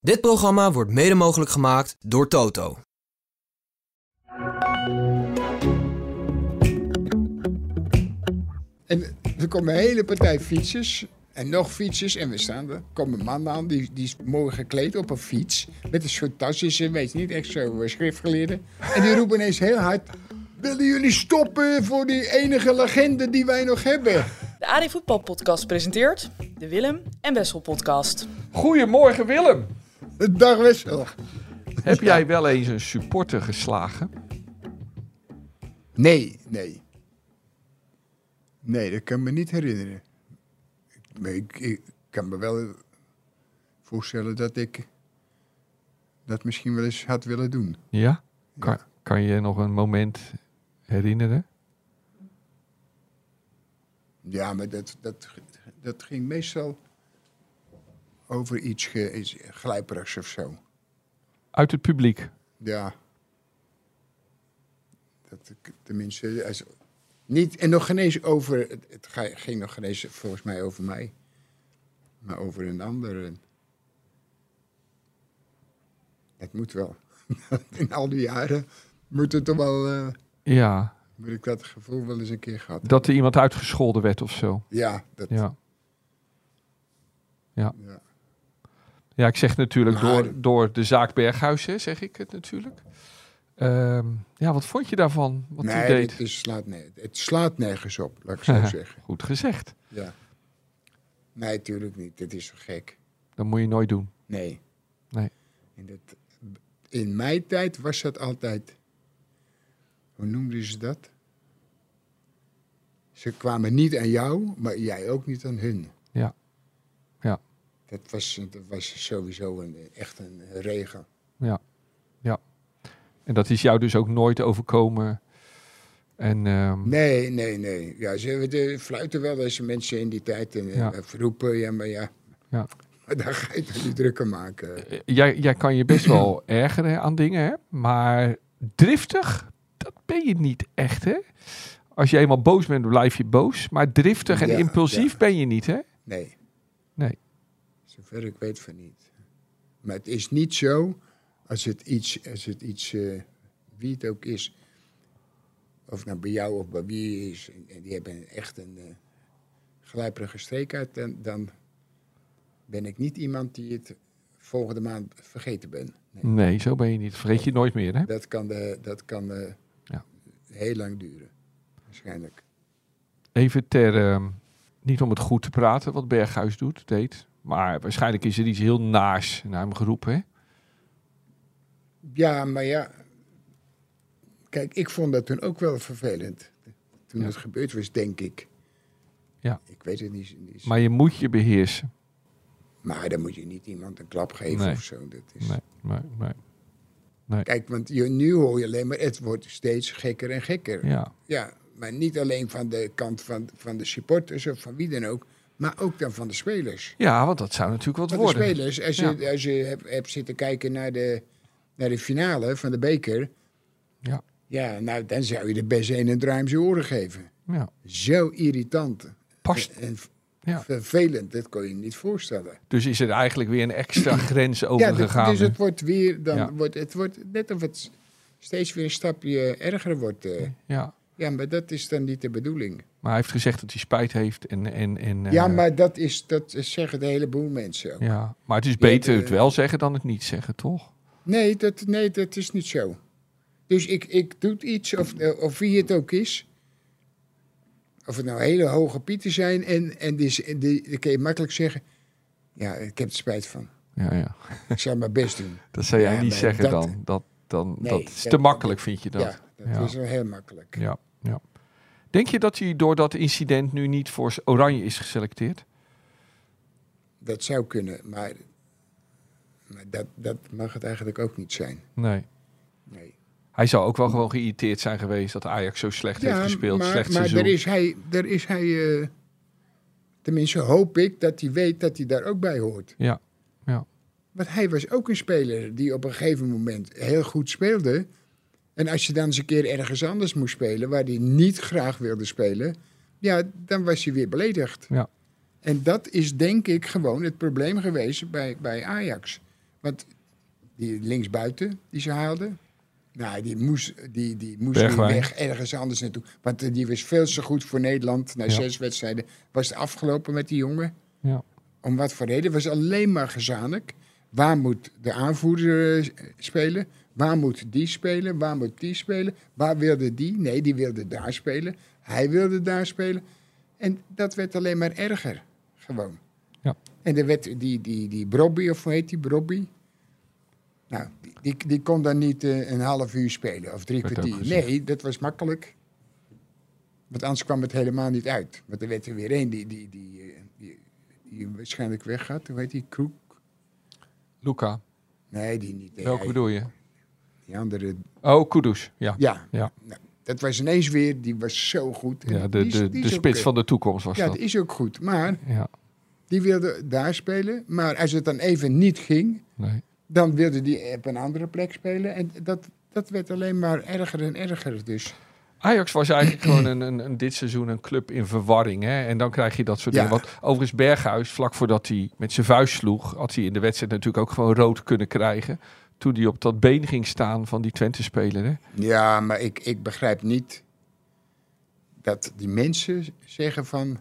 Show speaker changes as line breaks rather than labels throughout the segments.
Dit programma wordt mede mogelijk gemaakt door Toto.
En er komen een hele partij fietsers. En nog fietsers. En we staan er. Er komen mannen aan. Die, die is mooi gekleed op een fiets. Met een soort tasjes. En weet je niet. Echt zo eh, schriftgeleerde. En die roepen ineens heel hard. Willen jullie stoppen voor die enige legende die wij nog hebben?
De AD Voetbal Podcast presenteert de Willem en Wessel Podcast.
Goedemorgen Willem.
Dag Oh. Wessel.
Heb jij wel eens een supporter geslagen?
Nee, nee. Nee, dat kan me niet herinneren. Ik- maar Ik, ik kan me wel voorstellen dat ik dat misschien wel eens had willen doen.
Ja. Kan, kan je nog een moment herinneren?
Ja, maar dat, dat, dat ging meestal over iets, ge, iets glijperigs of zo.
Uit het publiek.
Ja. Dat, ik- tenminste, als, niet, en nog geen eens over, het, het ga- ging nog geen eens volgens mij over mij, maar over een ander. En Het moet wel. In al die jaren moet, het toch wel, eh,
Ja.
moet ik dat gevoel wel eens een keer gehad.
Dat er iemand uitgescholden werd of zo.
Ja, dat, ja.
Ja. Ja, ik zeg natuurlijk
Maar-
door, door Nou, de zaak Berghuis, hè, zeg ik het natuurlijk. Ehm, ja, wat vond je daarvan? Wat hij
nee,
deed?
het, is- slaat, nee, het slaat nergens op, laat ik zo zeggen.
Goed gezegd.
Ja. Nee, tuurlijk niet. Dit is zo gek.
Dat moet je nooit doen.
Nee.
Nee.
En dat, in mijn tijd was dat altijd. Hoe noemden ze dat? Ze kwamen niet aan jou, maar jij ook niet aan hun.
Ja. Ja.
Dat was, dat was sowieso een, echt een regel.
Ja, ja. En dat is jou dus ook nooit overkomen. En ehm,
Nee, nee, nee. Ja, ze de, fluiten wel eens mensen in die tijd en,
Ja.
en roepen, ja, maar ja.
Ja.
Maar daar ga je toch niet druk aan maken.
eh, jij, jij kan je best wel ergeren aan dingen, hè? maar driftig, dat ben je niet echt, hè? Als je eenmaal boos bent, blijf je boos. Maar driftig en
Ja,
impulsief
ja.
ben je niet, hè?
Nee.
Nee.
Zover ik weet van niet. Maar het is niet zo als het iets, als het iets eh, wie het ook is, of het nou bij jou of bij wie is, en, en die hebben echt een eh glijperige streek uit, dan, dan ben ik niet iemand die het volgende maand vergeten ben. Nee.
Nee, zo ben je niet. Vergeet je nooit meer, hè?
Dat kan, eh, dat kan eh,
Ja.
heel lang duren, waarschijnlijk.
Even ter, ehm, niet om het goed te praten wat Berghuis doet, deed. Maar waarschijnlijk is er iets heel naars naar hem geroepen, hè?
Ja, maar ja. Kijk, ik vond dat toen ook wel vervelend. Toen
Ja.
het gebeurd was, denk ik.
Ja.
Ik weet het niet. niet. Maar,
Maar je moet je beheersen.
dan moet je niet iemand een klap geven
Nee.
of zo. Dat is...
Nee, nee, nee.
Kijk, want je, nu hoor je alleen maar, het wordt steeds gekker en gekker. Ja,
Ja.
maar niet alleen van de kant van, van de supporters of van wie dan ook. Maar ook dan van de spelers.
Ja, want dat zou natuurlijk wat
Van de
worden.
spelers, als je, als je hebt, hebt zitten kijken naar de, naar de finale van de beker.
Ja.
Ja, nou, dan zou je de best een en draai om zijn oren geven.
Ja,
Zo irritant
past.
en v-
Ja.
vervelend, dat kon je je niet voorstellen.
Dus is er eigenlijk weer een extra grens
Ja,
overgegaan.
dat- dus het wordt weer, dan
Ja.
wordt, het wordt net of het s- steeds weer een stapje erger wordt. eh.
ja.
Ja, maar dat is dan niet de bedoeling.
Maar hij heeft gezegd dat hij spijt heeft. En, en, en, eh,
ja, maar dat, is, dat zeggen de heleboel mensen ook.
ja, maar het is
Ja,
beter
de-
het wel zeggen dan het niet zeggen, toch?
Nee, dat, nee, dat is niet zo. Dus ik, ik doe iets, of, eh, of wie het ook is. Of het nou hele hoge pieten zijn. En, en die, z- en die, dan kun je makkelijk zeggen... Ja, ik heb er spijt van.
Ja, ja.
Ik zal mijn best doen.
Dat zou jij
Ja,
niet
maar
zeggen
dat-
dan. Dat, dan,
Nee,
dat is
dat-
te makkelijk, vind je dat?
Ja, dat
Ja.
is wel heel makkelijk.
ja, ja. Denk je dat hij door dat incident nu niet voor Oranje is geselecteerd?
Dat zou kunnen, maar, maar dat, dat mag het eigenlijk ook niet zijn.
Nee.
Nee.
Hij zou ook wel gewoon geïrriteerd zijn geweest dat Ajax zo slecht heeft gespeeld.
maar,
slecht
maar
seizoen.
daar is hij... Daar is hij eh, tenminste hoop ik dat hij weet dat hij daar ook bij hoort.
Ja, ja.
Want hij was ook een speler die op een gegeven moment heel goed speelde. En als je dan eens een keer ergens anders moest spelen, waar hij niet graag wilde spelen, ja, dan was hij weer beledigd.
Ja.
En dat is denk ik gewoon het probleem geweest bij, bij Ajax. Want die linksbuiten die ze haalden, nou, die moest, die, die moest weer
Bergwijn.
weg ergens anders naartoe. Want eh, die was veel te goed voor Nederland. Na
Ja.
zes wedstrijden was het afgelopen met die jongen.
Ja.
Om wat voor reden? Het was alleen maar gezanik. Waar moet de aanvoerder eh, s- spelen? Waar moet die spelen? Waar moet die spelen? Waar wilde die? Nee, die wilde daar spelen. Hij wilde daar spelen. En dat werd alleen maar erger. Gewoon.
Ja.
En er werd die, die, die Brobby, of hoe heet die Brobby? Nou, die- die, die kon dan niet eh, een half uur spelen of drie
Werd ook
kwartier.
gezegd.
Nee, dat was makkelijk. Want anders kwam het helemaal niet uit. Want er werd er weer één die, die, die, eh, die, die waarschijnlijk weggaat. Hoe heet die? Kroek?
Luca,
Nee, die niet. Nee,
welke
hij-
bedoel je?
Die andere.
Oh, Kudus. Ja,
Ja.
Ja.
Nou, dat was ineens weer, die was zo goed. En
ja de,
die is-
de,
die
de
is ook,
spits
eh,
van de toekomst was
Ja,
dat.
die is ook goed. Maar
Ja,
die wilde daar spelen. Maar als het dan even niet ging,
nee.
dan wilde die op een andere plek spelen. En dat, dat werd alleen maar erger en erger. Dus
Ajax was eigenlijk gewoon een, een, een- dit seizoen een club in verwarring. Hè? En dan krijg je dat soort
Ja.
dingen. Want overigens Berghuis, vlak voordat hij met zijn vuist sloeg... had hij in de wedstrijd natuurlijk ook gewoon rood kunnen krijgen... toen hij op dat been ging staan van die Twente-speler. hè.
ja, maar ik, ik begrijp niet dat die mensen zeggen van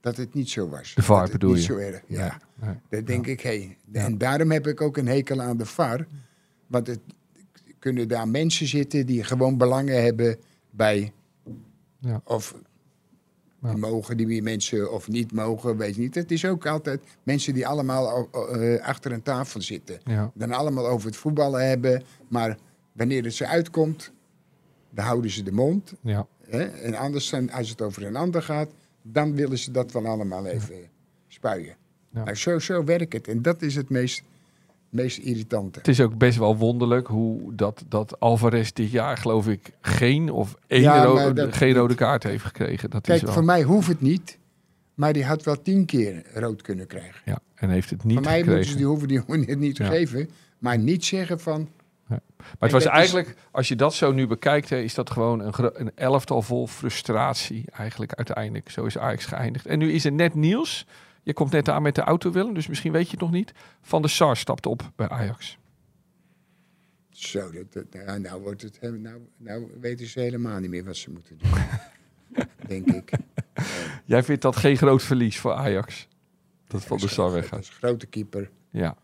dat het niet zo was.
De VAR
Dat het
bedoel
niet
je?
zo erg. Ja,
Nee.
dat denk ik. Hey. En daarom heb ik ook een hekel aan de VAR. Want het kunnen daar mensen zitten die gewoon belangen hebben bij
Ja.
of
Ja.
die mogen die mensen of niet mogen, weet je niet. Het is ook altijd mensen die allemaal eh, eh, achter een tafel zitten.
Ja.
dan allemaal over het voetballen hebben. Maar wanneer het ze uitkomt, dan houden ze de mond.
Ja.
Hè? En anders, dan, als het over een ander gaat, dan willen ze dat wel allemaal even eh, spuien.
Ja.
Nou, zo, zo werkt het. En dat is het meest, meest irritante.
Het is ook best wel wonderlijk hoe dat, dat Alvarez dit jaar, geloof ik, geen of één
Ja,
ro-
maar dat-
geen rode kaart heeft gekregen. Dat is
Kijk,
wel,
voor mij hoeft het niet. Maar die had wel tien keer rood kunnen krijgen.
ja, en heeft het niet
Voor mij moeten ze
gekregen.
die, hoeven die jongen niet te
Ja.
geven. Maar niet zeggen van...
Maar het
Kijk,
was
dat is-
eigenlijk, als je dat zo nu bekijkt, hè, is dat gewoon een, gro- een elftal vol frustratie eigenlijk uiteindelijk. Zo is Ajax geëindigd. En nu is er net nieuws. Je komt net aan met de auto, Willem, dus misschien weet je het nog niet. Van der Sar stapt op bij Ajax.
Zo, dat, dat- nou, nou, wordt het, hem- nou, nou weten ze helemaal niet meer wat ze moeten doen. Denk ik.
Jij vindt dat geen groot verlies voor Ajax? Dat Van der
Dat is
Sar
een- dat
weggaat.
is een grote keeper.
Ja,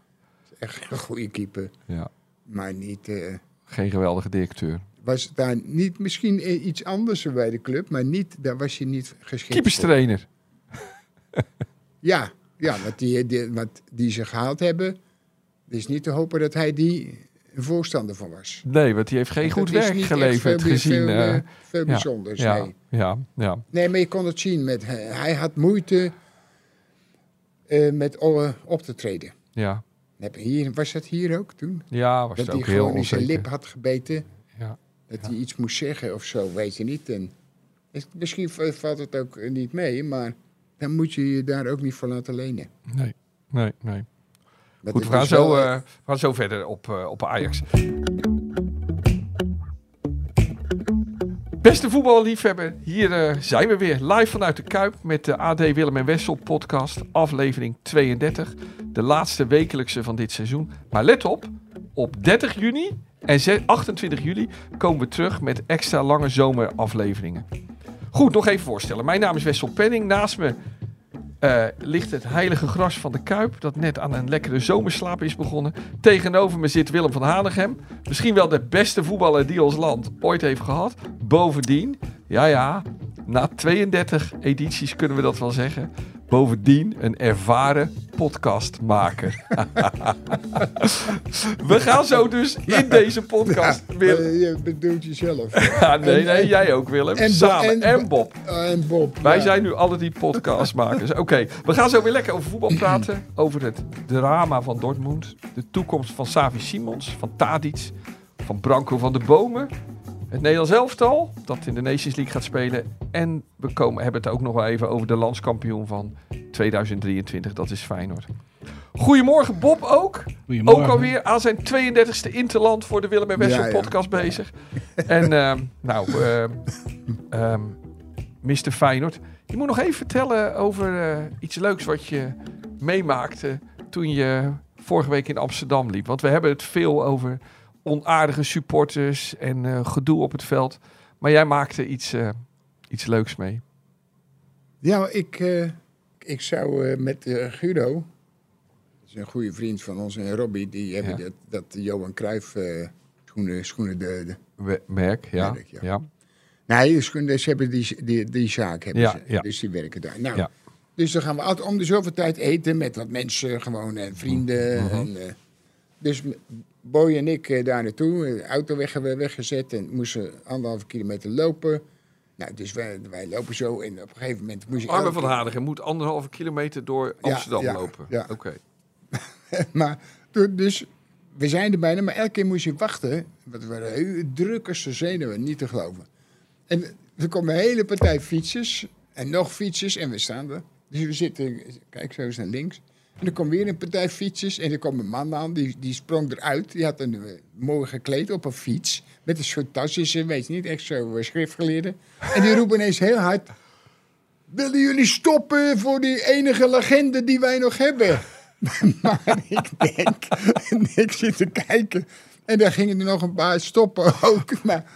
Echt een goede keeper.
ja,
Maar niet, eh,
geen geweldige directeur.
was het daar niet misschien eh, iets anders bij de club. Maar niet, daar was hij niet geschikt voor.
Keeperstrainer.
Ja, ja wat, die, die, wat die ze gehaald hebben. Het is niet te hopen dat hij die een voorstander van was.
Nee, want die heeft geen
Want
goed
dat is
werk
niet echt
geleverd
veel, bi-
gezien.
Veel,
eh,
eh, veel bijzonders,
ja,
nee.
ja, ja,
Nee, maar je kon het zien. Met, hij- hij had moeite eh, met o- op te treden.
ja,
Heb- Hier, was dat hier ook toen?
ja, was
Dat
het
hij
ook heel
gewoon in zijn
onzeker.
lip had gebeten.
Ja,
Dat
Ja.
hij iets moest zeggen of zo, weet je niet. En is- misschien v- valt het ook eh, niet mee, maar dan moet je je daar ook niet voor laten lenen.
nee, nee, nee.
Dat
Goed,
is
we gaan,
dus
zo,
wel, eh,
eh, we gaan zo verder op, eh, op Ajax. Beste voetballiefhebber, hier eh, zijn we weer live vanuit de Kuip met de AD Willem en Wessel podcast, aflevering 32. De laatste wekelijkse van dit seizoen. Maar let op, op 30 juni en ze- 28 juli komen we terug met extra lange zomerafleveringen. Goed, nog even voorstellen. Mijn naam is Wessel Penning. Naast me eh, ligt het heilige gras van de Kuip, dat net aan een lekkere zomerslaap is begonnen. Tegenover me zit Willem van Hanegem, misschien wel de beste voetballer die ons land ooit heeft gehad. Bovendien, ja ja, na 32 edities kunnen we dat wel zeggen. Bovendien een ervaren podcastmaker. we gaan zo dus in deze podcast weer...
eh, je bedoelt jezelf.
Ja, nee,
en-
nee,
en-
jij ook Willem.
en Bo-
Samen.
en-
en Bob.
Ah, en Bob.
Wij
ja.
zijn nu alle die podcastmakers. Oké, we gaan zo weer lekker over voetbal praten. Over het drama van Dortmund. De toekomst van Savi Simons, van Tadic, van Branco van de Bomen. Het Nederlands elftal, dat in de Nations League gaat spelen. En we komen, hebben het ook nog wel even over de landskampioen van 2023. Dat is Feyenoord. Goedemorgen Bob ook. Ook alweer aan zijn 32e Interland voor de Willem en Wessel
Ja, ja.
podcast bezig. En ehm, nou, ehm ehm, Mr. Feyenoord. Je moet nog even vertellen over eh, iets leuks wat je meemaakte toen je vorige week in Amsterdam liep. Want we hebben het veel over onaardige supporters en eh, gedoe op het veld. Maar jij maakte iets, eh, iets leuks mee.
Ja, maar ik, eh, ik zou eh, met eh, Guido, dat is een goede vriend van ons, en Robbie, die hebben
Ja.
dat, dat Johan Cruijff eh, schoenen, schoenen de, de-
We- Merk, ja.
Merk, ja.
ja. ja.
Nee, dus kunnen- ze hebben die, die, die zaak, hebben
Ja,
ze.
ja.
dus die werken daar. Nou,
Ja.
Dus dan gaan we altijd om de zoveel tijd eten met wat mensen, gewoon en
Mhm.
vrienden. En, eh, dus m- Boy en ik eh, daar naartoe, eh, de auto weg, weggezet en moesten anderhalve kilometer lopen. Nou, dus wij, wij lopen zo en op een gegeven moment moest je...
Arme
elke-
van Hadegen moet anderhalve kilometer door Amsterdam
ja,
lopen.
ja.
Oké.
maar toen- dus we zijn er bijna, maar elke keer moest je wachten. Want we waren heel druk als de zenuwen, niet te geloven. En er komen een hele partij fietsers en nog fietsers en we staan er. Dus we zitten, kijk zo eens naar links. En er komt weer een partij fietsers en er kwam een man aan, die, die sprong eruit. Die had een eh, mooi gekleed op een fiets, met een soort tasjes, en weet je niet, echt zo eh, schriftgeleerde. En die roept ineens heel hard, willen jullie stoppen voor die enige legende die wij nog hebben? maar ik denk, en ik zit te kijken. En daar gingen er nog een paar stoppen ook. Maar,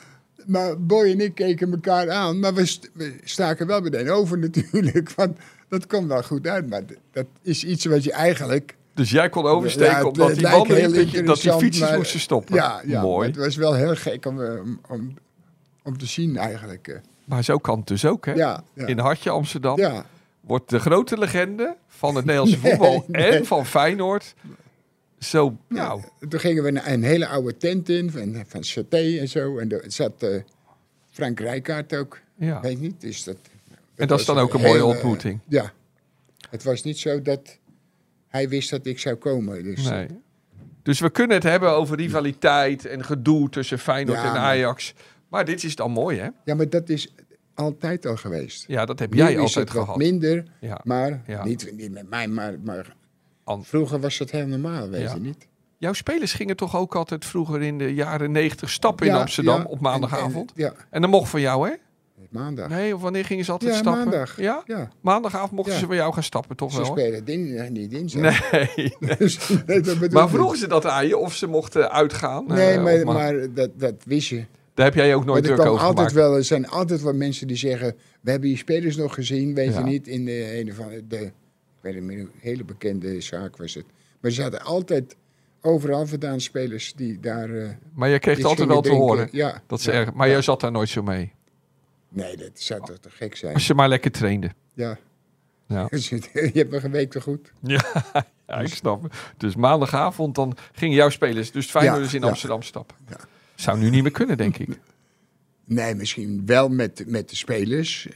maar Boy en ik keken elkaar aan. Maar we, st- we staken wel meteen over natuurlijk. Want dat kwam wel goed uit. Maar d- dat is iets wat je eigenlijk...
Dus jij kon oversteken
Ja, het-
omdat
het
die
lijkt
mannen
heel
dat je- dat die
interessant,
fietsers
maar-
moesten stoppen.
Ja, ja maar
Mooi.
het
Maar,
was wel heel gek om, eh, om, om, om te zien eigenlijk. eh.
zo kan het dus ook, hè?
Ja, ja.
In Hartje Amsterdam
ja.
wordt de grote legende van het Nederlandse voetbal
nee.
en van Feyenoord zo... Nou,
Toen gingen we naar een hele oude tent in, van, van Saté en zo. En daar zat eh, Frank Rijkaard ook,
ja.
weet je niet. Dus dat,
En dat is
was
dan ook een mooie
hele- eh,
ontmoeting.
Ja. Het was niet zo dat hij wist dat ik zou komen. Dus
Nee. Dus we kunnen het hebben over rivaliteit en gedoe tussen Feyenoord
Ja,
en
maar-
Ajax. Maar dit is dan mooi, hè?
Ja, maar dat is altijd al geweest.
Ja, dat heb
Nu
jij
is
altijd
het wat
gehad.
minder,
Ja.
maar
Ja.
niet, niet met mij, maar, maar
An-
vroeger was dat helemaal normaal, weet
Ja.
je niet.
Jouw spelers gingen toch ook altijd vroeger in de jaren negentig stappen in
Ja,
Amsterdam
ja.
op
En-
maandagavond?
en- ja,
En dat mocht van jou, hè?
maandag.
Nee, of wanneer gingen ze altijd
ja,
stappen?
maandag.
Ja?
ja.
Maandagavond mochten
Ja.
ze bij jou gaan stappen, toch
Ze
wel? hè?
spelen din, eh, niet dinsdag.
Nee.
Dus, nee, dat bedoel
Maar
ik.
vroegen ze dat aan je of ze mochten uitgaan? eh,
Nee,
op
maar,
maandag?
maar dat, dat wist je.
Daar heb jij ook nooit
Want er,
druk
kwam
over
altijd
gemaakt.
wel, er zijn altijd wel mensen die zeggen... we hebben je spelers nog gezien, weet
Ja.
je niet, in de, een van de... Ik weet niet meer, een hele bekende zaak was het. Maar ze hadden altijd overal vandaan spelers die daar... eh,
Maar jij kreeg
iets
het altijd wel
gingen
te
drinken.
horen.
Ja.
Dat ze
Ja.
erg... Maar jij zat daar nooit zo mee.
Nee, dat zou toch te gek zijn?
Als je maar lekker trainde.
Ja.
Ja.
je hebt me geweekt te goed.
Ja, ja, ik snap het. Dus maandagavond dan gingen jouw spelers, dus Feyenoorders in
ja.
Amsterdam stappen.
Ja.
Zou nu niet meer kunnen, denk ik.
Nee, misschien wel met, met de spelers.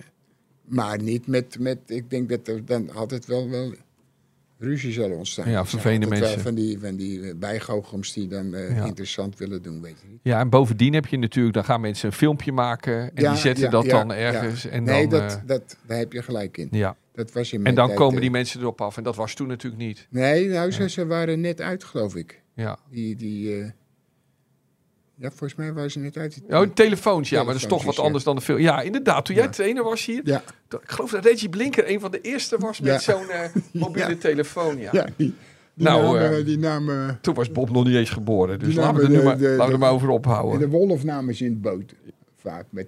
Maar niet met, met... Ik denk dat er dan altijd wel, wel ruzie zal ontstaan.
Ja,
Er zijn
vervelende
altijd wel
mensen.
Van die, van die eh, bijgoochels die dan eh,
Ja.
interessant willen doen, weet je niet.
Ja, en bovendien heb je natuurlijk, dan gaan mensen een filmpje maken en
Ja,
die zetten
ja,
dat
ja,
dan
ja.
ergens. En
nee,
dan,
dat,
eh,
dat, daar heb je gelijk in.
ja.
Dat was in
en
mijn
dan
tijd,
komen
eh,
die mensen erop af. En dat was toen natuurlijk niet.
Nee, nou, ze, ze waren net uit, geloof ik.
Ja.
Die, die, eh, ja, volgens mij waren ze net uit. die-
Oh, telefoons, ja, maar dat is toch wat
Telefoontjes, ja.
anders dan de film. Ja, inderdaad. Toen jij trainer was hier,
Ja,
dat- ik geloof dat Reggie Blinker een van de eerste was met
Ja.
zo'n eh, mobiele
Ja.
telefoon. Ja.
ja, die, die
Nou,
namen...
eh,
die namen
Toen was Bob nog niet eens geboren, dus
Die
laten we er
namen
nu
Nou, de-
maar,
de-
laten we er
de-
maar over ophouden.
en de Wolf namen ze in het boot. Vaak met...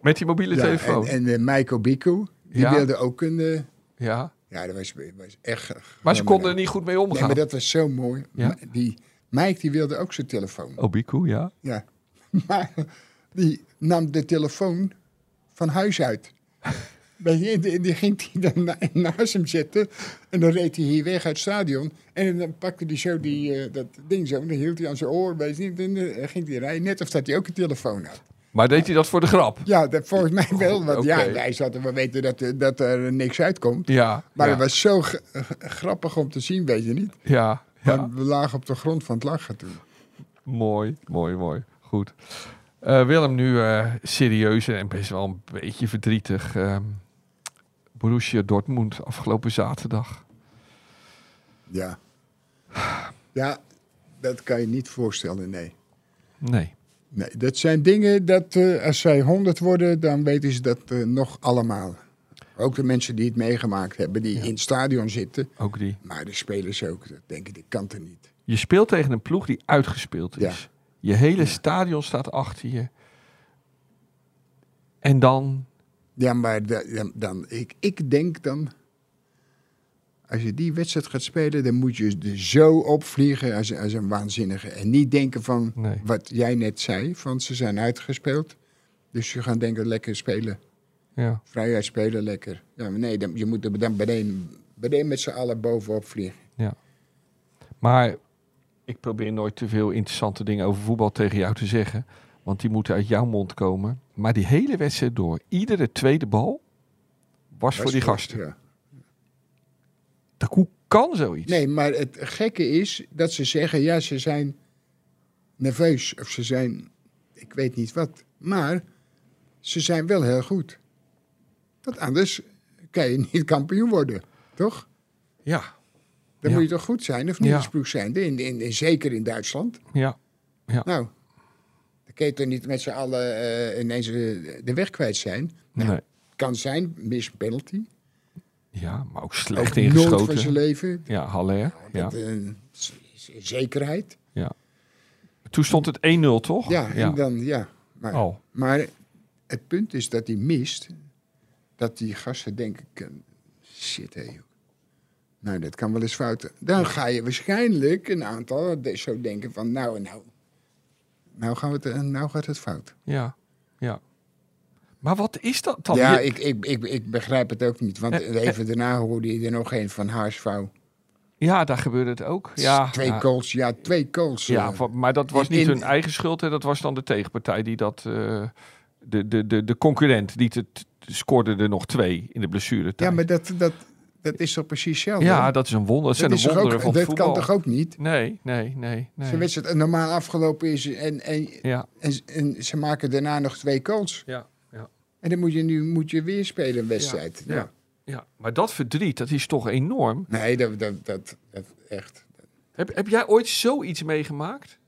Met die mobiele
ja,
telefoon.
En, en eh, Michael Biku, die
Ja.
wilde ook een... eh,
ja.
ja, dat was, was echt...
Maar ze konden er niet goed mee
Nee,
omgaan.
maar dat was zo mooi.
Ja. Oh.
Ma- Die, Mike, die wilde ook zijn telefoon.
Obiku, ja.
Ja. Maar die nam de telefoon van huis uit. Weet je, En die, die ging hij dan na- naast hem zetten. En dan reed hij hier weg uit het stadion. En dan pakte hij zo die, eh, dat ding zo. En dan hield hij aan zijn oor. Weet je, niet. en dan ging hij rijden. Net of dat hij ook een telefoon had.
Maar deed hij dat voor de grap?
Ja, dat volgens mij wel. Want ja,
Oh, oké.
wij zaten, we weten dat, er- dat er niks uitkomt.
Ja.
Maar
ja,
het was zo g- g- grappig om te zien, weet je niet.
Ja, ja.
Maar We lagen op de grond van het lachen toen.
Mooi, mooi, mooi. Goed. Eh, Willem, nu eh, serieus en best wel een beetje verdrietig. Ehm, Borussia Dortmund afgelopen zaterdag.
Ja. Ja, dat kan je niet voorstellen, nee.
Nee.
Nee, dat zijn dingen dat eh, als zij honderd worden, dan weten ze dat eh, nog allemaal. Ook de mensen die het meegemaakt hebben, die in het stadion zitten.
Ook die.
Maar de spelers ook, dat denk ik, die kan er niet.
Je speelt tegen een ploeg die uitgespeeld is. Je hele stadion staat achter je. En dan,
Ja, maar da- dan, dan, ik, ik denk dan, als je die wedstrijd gaat spelen, dan moet je er zo opvliegen als, als een waanzinnige. En niet denken van
Nee.
wat jij net zei, van ze zijn uitgespeeld. Dus je gaat denken, lekker spelen,
ja,
vrijheid spelen, lekker. Ja, maar nee, dan, je moet er dan beneden, beneden met z'n allen bovenop vliegen.
maar ik probeer nooit te veel interessante dingen over voetbal tegen jou te zeggen. Want die moeten uit jouw mond komen. Maar die hele wedstrijd door, iedere tweede bal, was voor die gasten.
Ja.
Dat- Hoe kan zoiets?
Nee, maar het gekke is dat ze zeggen, ja, ze zijn nerveus of ze zijn, ik weet niet wat. Maar ze zijn wel heel goed. Want anders kan je niet kampioen worden, toch?
Ja,
Dan
Ja.
moet je toch goed zijn of
Ja.
nieuwsploeg zijn, in, in, in- zeker in Duitsland.
ja.
Nou, dan kun je toch niet met z'n allen eh, ineens eh, de weg kwijt zijn. Nou,
Nee.
Kan zijn, mis een penalty.
Ja, maar ook
Ook
slecht
nooit van zijn
ingeschoten.
leven.
Ja, Haller. Ja.
Dat, eh, z- z- zekerheid.
Toen stond het 1-0, toch?
Ja, en dan, ja. Maar,
Oh,
Maar het punt is dat hij mist. Dat die gasten denken: "Kun- shit hé joh. Nou, dat kan wel eens fouten. Dan ga je waarschijnlijk een aantal de- zo denken van nou en nou. Nou, gaan we het, eh, nou gaat het fout.
ja, ja. Maar wat is dat dan?
ja,
Je-
ik, ik, ik, ik begrijp het ook niet. Want
Eh, eh.
even daarna hoorde je er nog een van Haarsvouw.
ja daar gebeurde het ook. Ja,
twee
ja.
calls, ja, twee calls.
Ja,
eh.
va- maar dat was
In-
niet
in-
hun eigen schuld. Hè. Dat was dan de tegenpartij die dat... eh, de, de, de, de concurrent, die te, t- scoorde er nog twee in de blessuretijd.
ja maar dat, dat, dat is toch precies hetzelfde?
Ja, dat is een wonder. Dat,
dat, is
zijn de
toch
wonderen
ook,
van het
dat
voetbal.
kan toch ook niet?
Nee, nee, nee. nee.
Zo'n wedstrijd normaal afgelopen is en, en
Ja,
En, z- en ze maken daarna nog twee goals.
ja, ja.
En dan moet je nu moet je weer spelen een wedstrijd.
Ja,
Ja,
ja. Ja, maar dat verdriet, dat is toch enorm.
Nee, dat, dat, dat, dat echt.
Heb, heb jij ooit zoiets meegemaakt?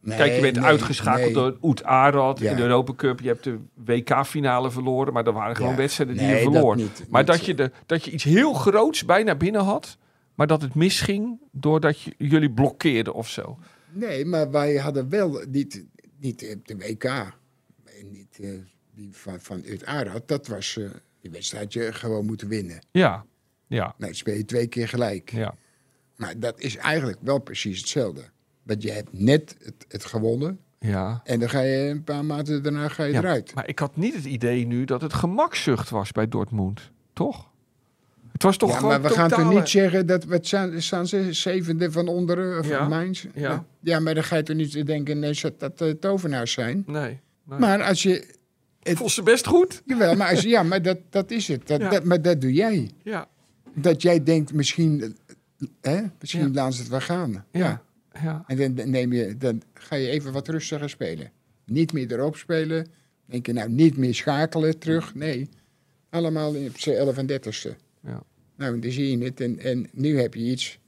Nee,
Kijk, je bent
nee,
uitgeschakeld
nee.
door Oet Arad
Ja.
in de Europa Cup. Je hebt de WK-finale verloren, maar er waren gewoon
Ja.
wedstrijden die
Nee,
je
dat
verloor.
niet.
maar
Niet
dat je, de, dat je iets heel groots bijna binnen had, maar dat het misging doordat je, jullie blokkeerden of zo.
Nee, maar wij hadden wel niet, niet op de WK. en Niet eh, die van, van Ut Arad. Dat was eh, die wedstrijd je gewoon moeten winnen.
Ja, ja,
Nou, dan speel je twee keer gelijk.
ja,
Maar dat is eigenlijk wel precies hetzelfde. Want je hebt net het, het gewonnen.
ja.
En dan ga je een paar maanden daarna ga je
Ja,
eruit.
Maar ik had niet het idee nu dat het gemakzucht was bij Dortmund, toch? Het was toch
ja,
gewoon
maar we gaan toch
totale-
niet zeggen dat we staan, staan ze zevende van onderen of
Ja,
van Mainz?
ja.
ja, maar dan ga je toch niet denken nee, dat dat eh, tovenaars zijn.
Nee, nee.
Maar als je,
het vond ze best goed.
jawel, maar als je, ja, maar dat, dat is het. Dat,
Ja.
dat, maar dat doe jij.
Ja,
Dat jij denkt misschien, eh, hè, misschien
Ja.
laten ze het wel gaan. Ja.
ja, ja.
En dan- dan, neem je, dan ga je even wat rustiger spelen. Niet meer erop spelen. Denk je nou niet meer schakelen terug. Nee, allemaal in- op z'n 11 en 30ste.
Ja.
Nou, dan zie je het. En, en nu heb je iets.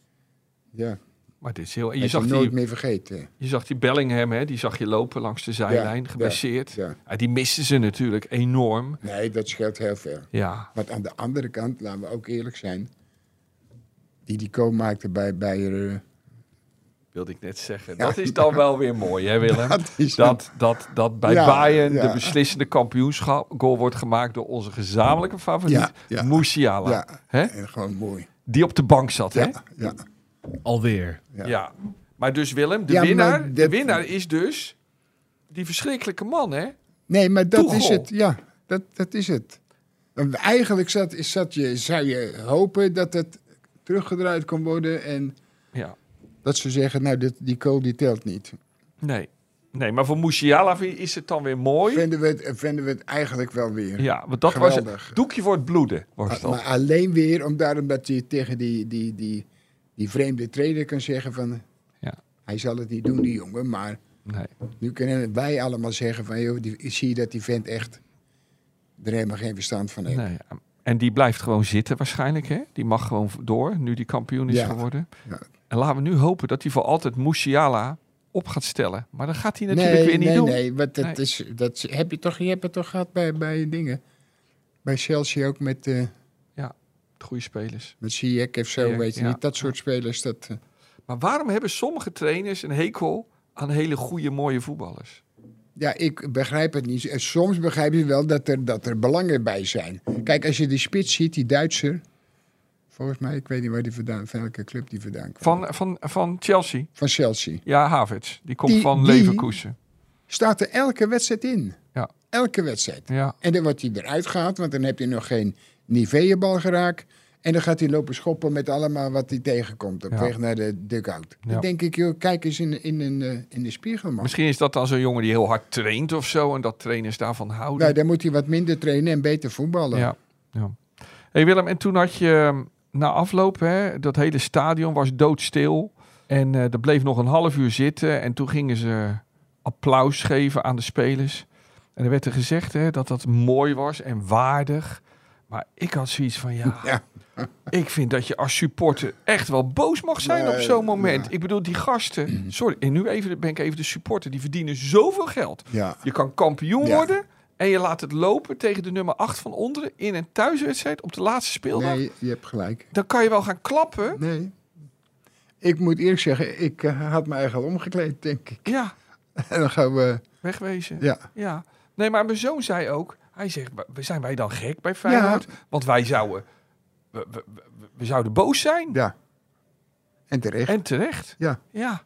Ja,
Maar dit is heel... en
je
Je zag
nooit
die
meer vergeten.
Je zag die Bellingham, hè, die zag je lopen langs de zijlijn,
Ja,
geblesseerd.
ja.
Ah, die misten ze natuurlijk enorm.
Nee, dat scheelt heel veel.
Ja,
Want aan de andere kant, laten we ook eerlijk zijn. Die die co maakte bij, bij eh,
wilde ik net zeggen. Dat is dan wel weer mooi, hè Willem? Dat,
Dat is
dat, dat, bij
Ja,
Bayern
ja.
de beslissende kampioenschap goal wordt gemaakt door onze gezamenlijke favoriet,
Ja, ja.
Musiala.
Ja.
Hè?
en gewoon mooi.
Die op de bank zat, hè?
Ja, ja.
Alweer.
Ja. Maar dus Willem, de,
Ja, maar
winnaar, de
dat-
winnaar is dus die verschrikkelijke man, hè?
Nee, maar dat
Tuchel.
is het. Ja, dat, dat is het. Want eigenlijk zat, is zat je, zou je hopen dat het teruggedraaid kon worden. En
Ja.
dat ze zeggen, nou, dit, die co die telt niet.
Nee. Nee, maar voor Musiala vind- is het dan weer mooi.
Vinden we het, vinden we het eigenlijk wel weer.
Ja, want dat was
Geweldig. Ah,
het doekje voor het bloeden. Was dat.
Maar alleen weer om daarom dat hij tegen die, die, die, die vreemde trainer kan zeggen van...
Ja.
Hij zal het niet doen, die jongen. Maar
Nee.
nu kunnen wij allemaal zeggen van... Joh, die, zie je dat die vent echt er helemaal geen verstand van heeft.
Nee, ja. En die blijft gewoon zitten waarschijnlijk. Hè? Die mag gewoon v- door, nu die kampioen is
Ja.
geworden.
Ja.
En laten we nu hopen dat hij voor altijd Musiala op gaat stellen. Maar dat gaat hij natuurlijk
nee,
weer niet
nee,
doen.
nee, want dat
Nee.
Is, dat is- heb je toch, je hebt het toch gehad bij, bij dingen. bij Chelsea ook met, eh
Goede spelers.
met Ziyech of zo,
Ziyech,
weet je
ja.
niet. Dat soort spelers, dat... eh,
Maar waarom hebben sommige trainers een hekel aan hele goede, mooie voetballers?
Ja, ik begrijp het niet. En Soms begrijp je wel dat er, dat er belangen bij zijn. Kijk, als je die spits ziet, die Duitser. Volgens mij, ik weet niet waar die vandaan, van welke club die vandaan kwam.
Van, van, van Chelsea.
Van Chelsea.
Ja, Havertz. Die komt
Die-
van
die-
Leverkusen.
Staat er elke wedstrijd in.
Ja.
Elke wedstrijd.
Ja.
En dan wordt hij eruit gehaald, want dan heb je nog geen Nivea-bal geraakt. En dan gaat hij lopen schoppen met allemaal wat hij tegenkomt op
Ja.
weg naar de dugout.
Ja.
Dan denk ik, joh, kijk eens in, in, in, eh, in de spiegel, man.
Misschien is dat dan zo'n jongen die heel hard traint of zo. En dat trainers daarvan houden.
Nou, dan moet hij wat minder trainen en beter voetballen.
Ja. ja. Hey Willem, en toen had je ehm, na afloop, hè, dat hele stadion was doodstil. En eh dat bleef nog een half uur zitten. En toen gingen ze applaus geven aan de spelers. En er werd er gezegd hè, dat dat mooi was en waardig. Maar ik had zoiets van, ja,
Ja.
ik vind dat je als supporter echt wel boos mag zijn op
Nee,
zo'n moment.
ja.
Ik bedoel, die gasten, sorry, en nu even, ben ik even de supporter, die verdienen zoveel geld.
Ja.
Je kan kampioen
Ja.
worden en je laat het lopen tegen de nummer 8 van onderen in een thuiswedstrijd op de laatste speeldag.
Nee, je hebt gelijk.
Dan kan je wel gaan klappen.
Nee. Ik moet eerlijk zeggen, ik eh, had me eigenlijk al omgekleed, denk ik.
Ja,
En dan gaan we...
wegwezen. Ja.
Ja,
Nee, maar mijn zoon zei ook, hij zegt, "Wa- zijn wij dan gek bij Feyenoord? Want wij zouden, we, we- we- we zouden boos zijn.
ja. En terecht.
En terecht.
Ja.
Ja.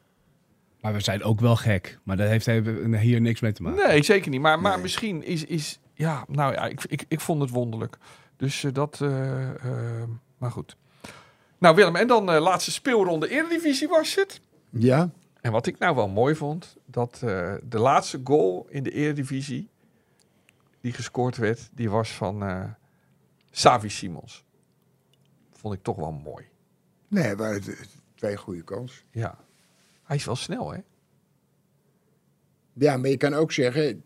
Maar we zijn ook wel gek. Maar dat heeft even- hier niks mee te maken.
Nee, zeker niet. Maar, maar
Nee.
misschien is, is... Ja, nou ja, ik, ik, ik vond het wonderlijk. Dus eh, dat... eh, eh, maar goed. Nou Willem, en dan eh laatste speelronde Eredivisie was het.
Ja,
En wat ik nou wel mooi vond, dat eh, de laatste goal in de Eredivisie die gescoord werd, die was van eh, Savi Simons. Vond ik toch wel mooi.
nee, waren het twee goede kansen.
Ja. Hij is wel snel, hè?
Ja, maar je kan ook zeggen,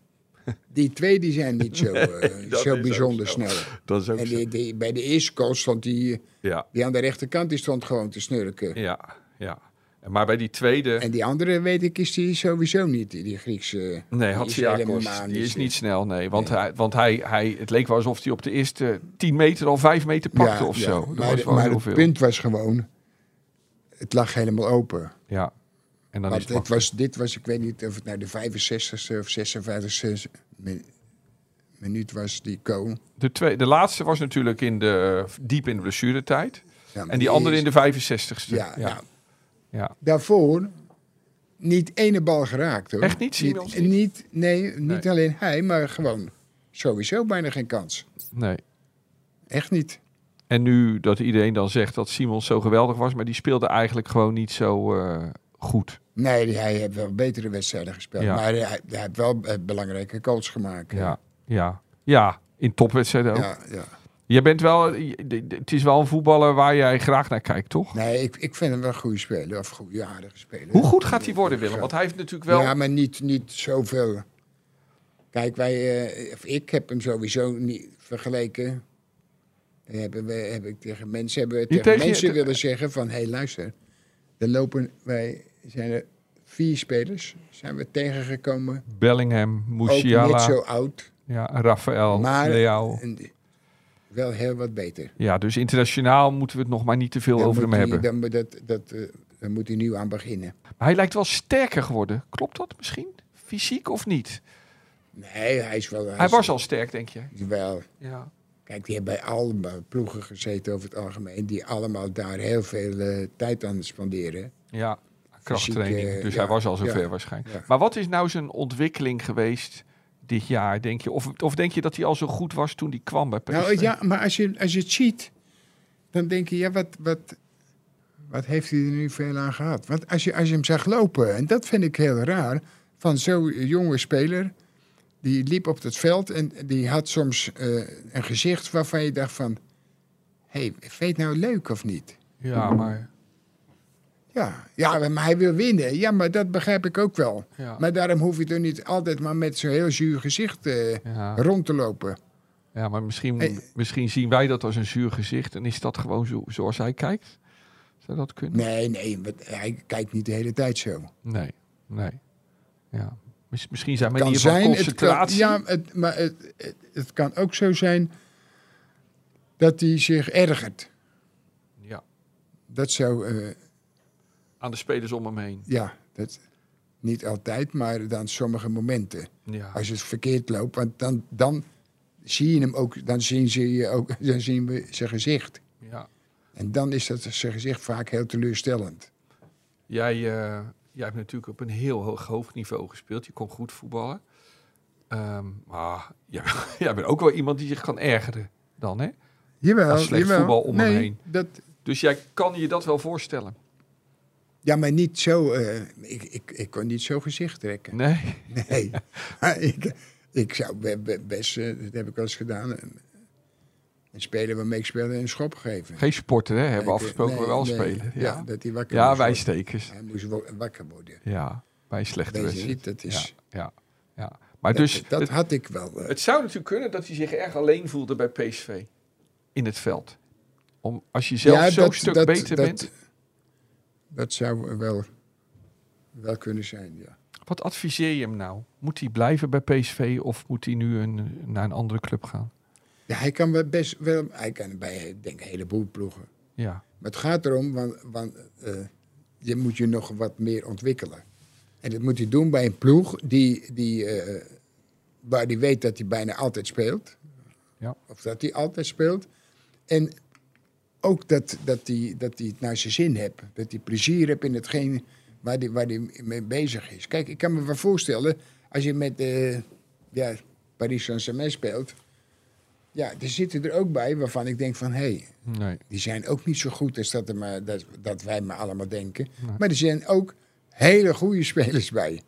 die twee die zijn niet zo, eh,
dat is
zo
ook
bijzonder
zo.
snel.
Dat is ook
En
zo.
die, die- bij de eerste goal stond die,
Ja,
die aan de rechterkant, die stond gewoon te snurken.
ja, ja. En Maar bij die tweede...
En die andere, weet ik, is die sowieso niet, die Griekse.
Nee,
die is
Hatsiakos,
helemaal
die is
zo-
niet snel, nee. Want, Hij, want hij, hij, het leek wel alsof hij op de eerste 10 meter al 5 meter pakte of zo. Dat
Maar,
was wel
maar
heel
het
veel.
punt was gewoon, het lag helemaal open.
Ja, en dan is
Want
het
het was, dit was, ik weet niet of het nou de 65ste of 56ste mi- minuut was, die goal.
De, twee, de laatste was natuurlijk in de, eh, diep in de blessuretijd.
Ja, maar
En die andere
is-
in de 65ste.
Ja,
ja.
nou,
ja.
daarvoor niet ene bal geraakt hoor.
Echt niet, Simons
niet, niet- Nee, niet
Nee.
alleen hij, maar gewoon sowieso bijna geen kans.
Nee.
Echt niet.
En nu dat iedereen dan zegt dat Simons zo geweldig was, maar die speelde eigenlijk gewoon niet zo eh, goed.
Nee, hij heeft wel betere wedstrijden gespeeld.
Ja.
Maar hij, hij heeft wel eh, belangrijke goals gemaakt. hè.
Ja, ja, ja. In topwedstrijden ook.
Ja, ja.
Je bent wel, je- de- de- het is wel een voetballer waar jij graag naar kijkt, toch?
Nee, ik, ik vind hem wel een goede speler. Of goede, aardige speler.
Hoe goed gaat hij worden, Willem? Want hij heeft natuurlijk wel...
Ja, maar niet, niet zoveel. Kijk, wij, eh, of ik heb hem sowieso niet vergeleken. Dan Hebben we, heb ik tegen mensen, hebben we tegen
tegen je-
mensen
te-
willen zeggen van... hé, hey, luister, er lopen, wij zijn er vier spelers, zijn we tegengekomen.
Bellingham,
Ook
Musiala,
niet zo oud,
ja, Rafael,
maar
Leao.
en- wel heel wat beter.
Ja, dus internationaal moeten we het nog maar niet te veel
Dan
over
moet
hem
hij-
hebben.
Dan, moet dat, dat, eh, dan moet hij nu aan beginnen.
Maar hij lijkt wel sterker geworden. Klopt dat misschien? Fysiek of niet?
Nee, hij is wel...
Hij was al sterk, denk je?
Wel,
Ja.
Kijk, die hebben bij allemaal ploegen gezeten over het algemeen. Die allemaal daar heel veel eh, tijd aan spenderen.
Ja, krachttraining.
Fysiek, eh,
dus
ja,
hij was al zover
ja,
waarschijnlijk.
ja.
Maar wat is nou zijn ontwikkeling geweest dit jaar, denk je? Of, of denk je dat hij al zo goed was toen hij kwam bij PSV?
Nou ja, maar als je, als je het ziet, dan denk je, ja, wat, wat, wat heeft hij er nu veel aan gehad? Want als je, als je hem zag lopen, en dat vind ik heel raar, van zo'n jonge speler, die liep op het veld en die had soms eh, een gezicht waarvan je dacht van, hé, hey, vind je het nou leuk of niet?
Ja, maar...
Ja, ja, maar hij wil winnen. Ja, maar dat begrijp ik ook wel.
Ja.
Maar daarom hoef je toch niet altijd maar met zo'n heel zuur gezicht eh,
Ja,
rond te lopen.
ja maar misschien,
Hey.
misschien zien wij dat als een zuur gezicht. En is dat gewoon zo, zoals hij kijkt? Zou dat kunnen?
Nee, nee, want hij kijkt niet de hele tijd zo.
Nee, nee. Ja. Mis- Misschien zijn
kan
manier van
zijn, het kan,
concentratie.
ja, het, maar het, het, het kan ook zo zijn dat hij zich ergert.
Ja.
Dat zou, eh,
Aan de spelers om hem heen.
ja, dat, niet altijd, maar dan sommige momenten.
Ja.
Als het verkeerd loopt, want dan, dan zie je hem ook, dan zien, ze je ook, dan zien we zijn gezicht.
ja.
En dan is dat zijn gezicht vaak heel teleurstellend.
Jij, eh, jij hebt natuurlijk op een heel hoog, hoog niveau gespeeld. Je kon goed voetballen. Ehm, maar jij, jij bent ook wel iemand die zich kan ergeren dan, hè?
Jawel,
Als slecht voetbal om hem
nee,
heen.
Dat,
Dus jij kan je dat wel voorstellen.
ja, maar niet zo. eh, ik, ik, ik kon niet zo gezicht trekken.
Nee?
Nee. Maar ik, ik zou be- be- best, eh, dat heb ik wel eens gedaan, een, een speler waarmee ik speelde een schop geven.
Geen sporten, hè? Hebben we
Ik, eh,
afgesproken,
nee,
we wel
nee,
spelen.
Ja,
Ja,
dat hij wakker
ja
moest
wij
worden.
stekers.
Hij moest wo- wakker worden.
Ja, bij een slechte
Weet je
wedstrijd.
niet, dat is...
dus, Ja, ja, ja. Maar dus,
dat, dat
het,
had ik wel. eh,
het zou natuurlijk kunnen dat hij zich erg alleen voelde bij PSV. In het veld. Om, als je zelf
ja,
zo'n
dat-
stuk
dat-
beter
dat-
bent.
Dat zou wel, wel kunnen zijn, ja.
Wat adviseer je hem nou? Moet hij blijven bij PSV of moet hij nu een, naar een andere club gaan?
ja hij kan wel best wel... Hij kan bij, ik denk, een heleboel ploegen.
Ja,
Maar het gaat erom, want, want eh, je moet je nog wat meer ontwikkelen. En dat moet hij doen bij een ploeg die, die, eh, waar hij weet dat hij bijna altijd speelt.
Ja.
Of dat hij altijd speelt. En ook dat, dat, hij, dat hij het naar zijn zin heeft. Dat hij plezier hebt in hetgeen waar hij, waar hij mee bezig is. Kijk, ik kan me wel voorstellen, als je met eh, ja, Paris Saint-Germain speelt... Ja, er zitten er ook bij waarvan ik denk van... hé, hey,
nee.
die zijn ook niet zo goed als dat, er maar, dat, dat wij maar allemaal denken. Maar er zijn ook hele goede spelers bij.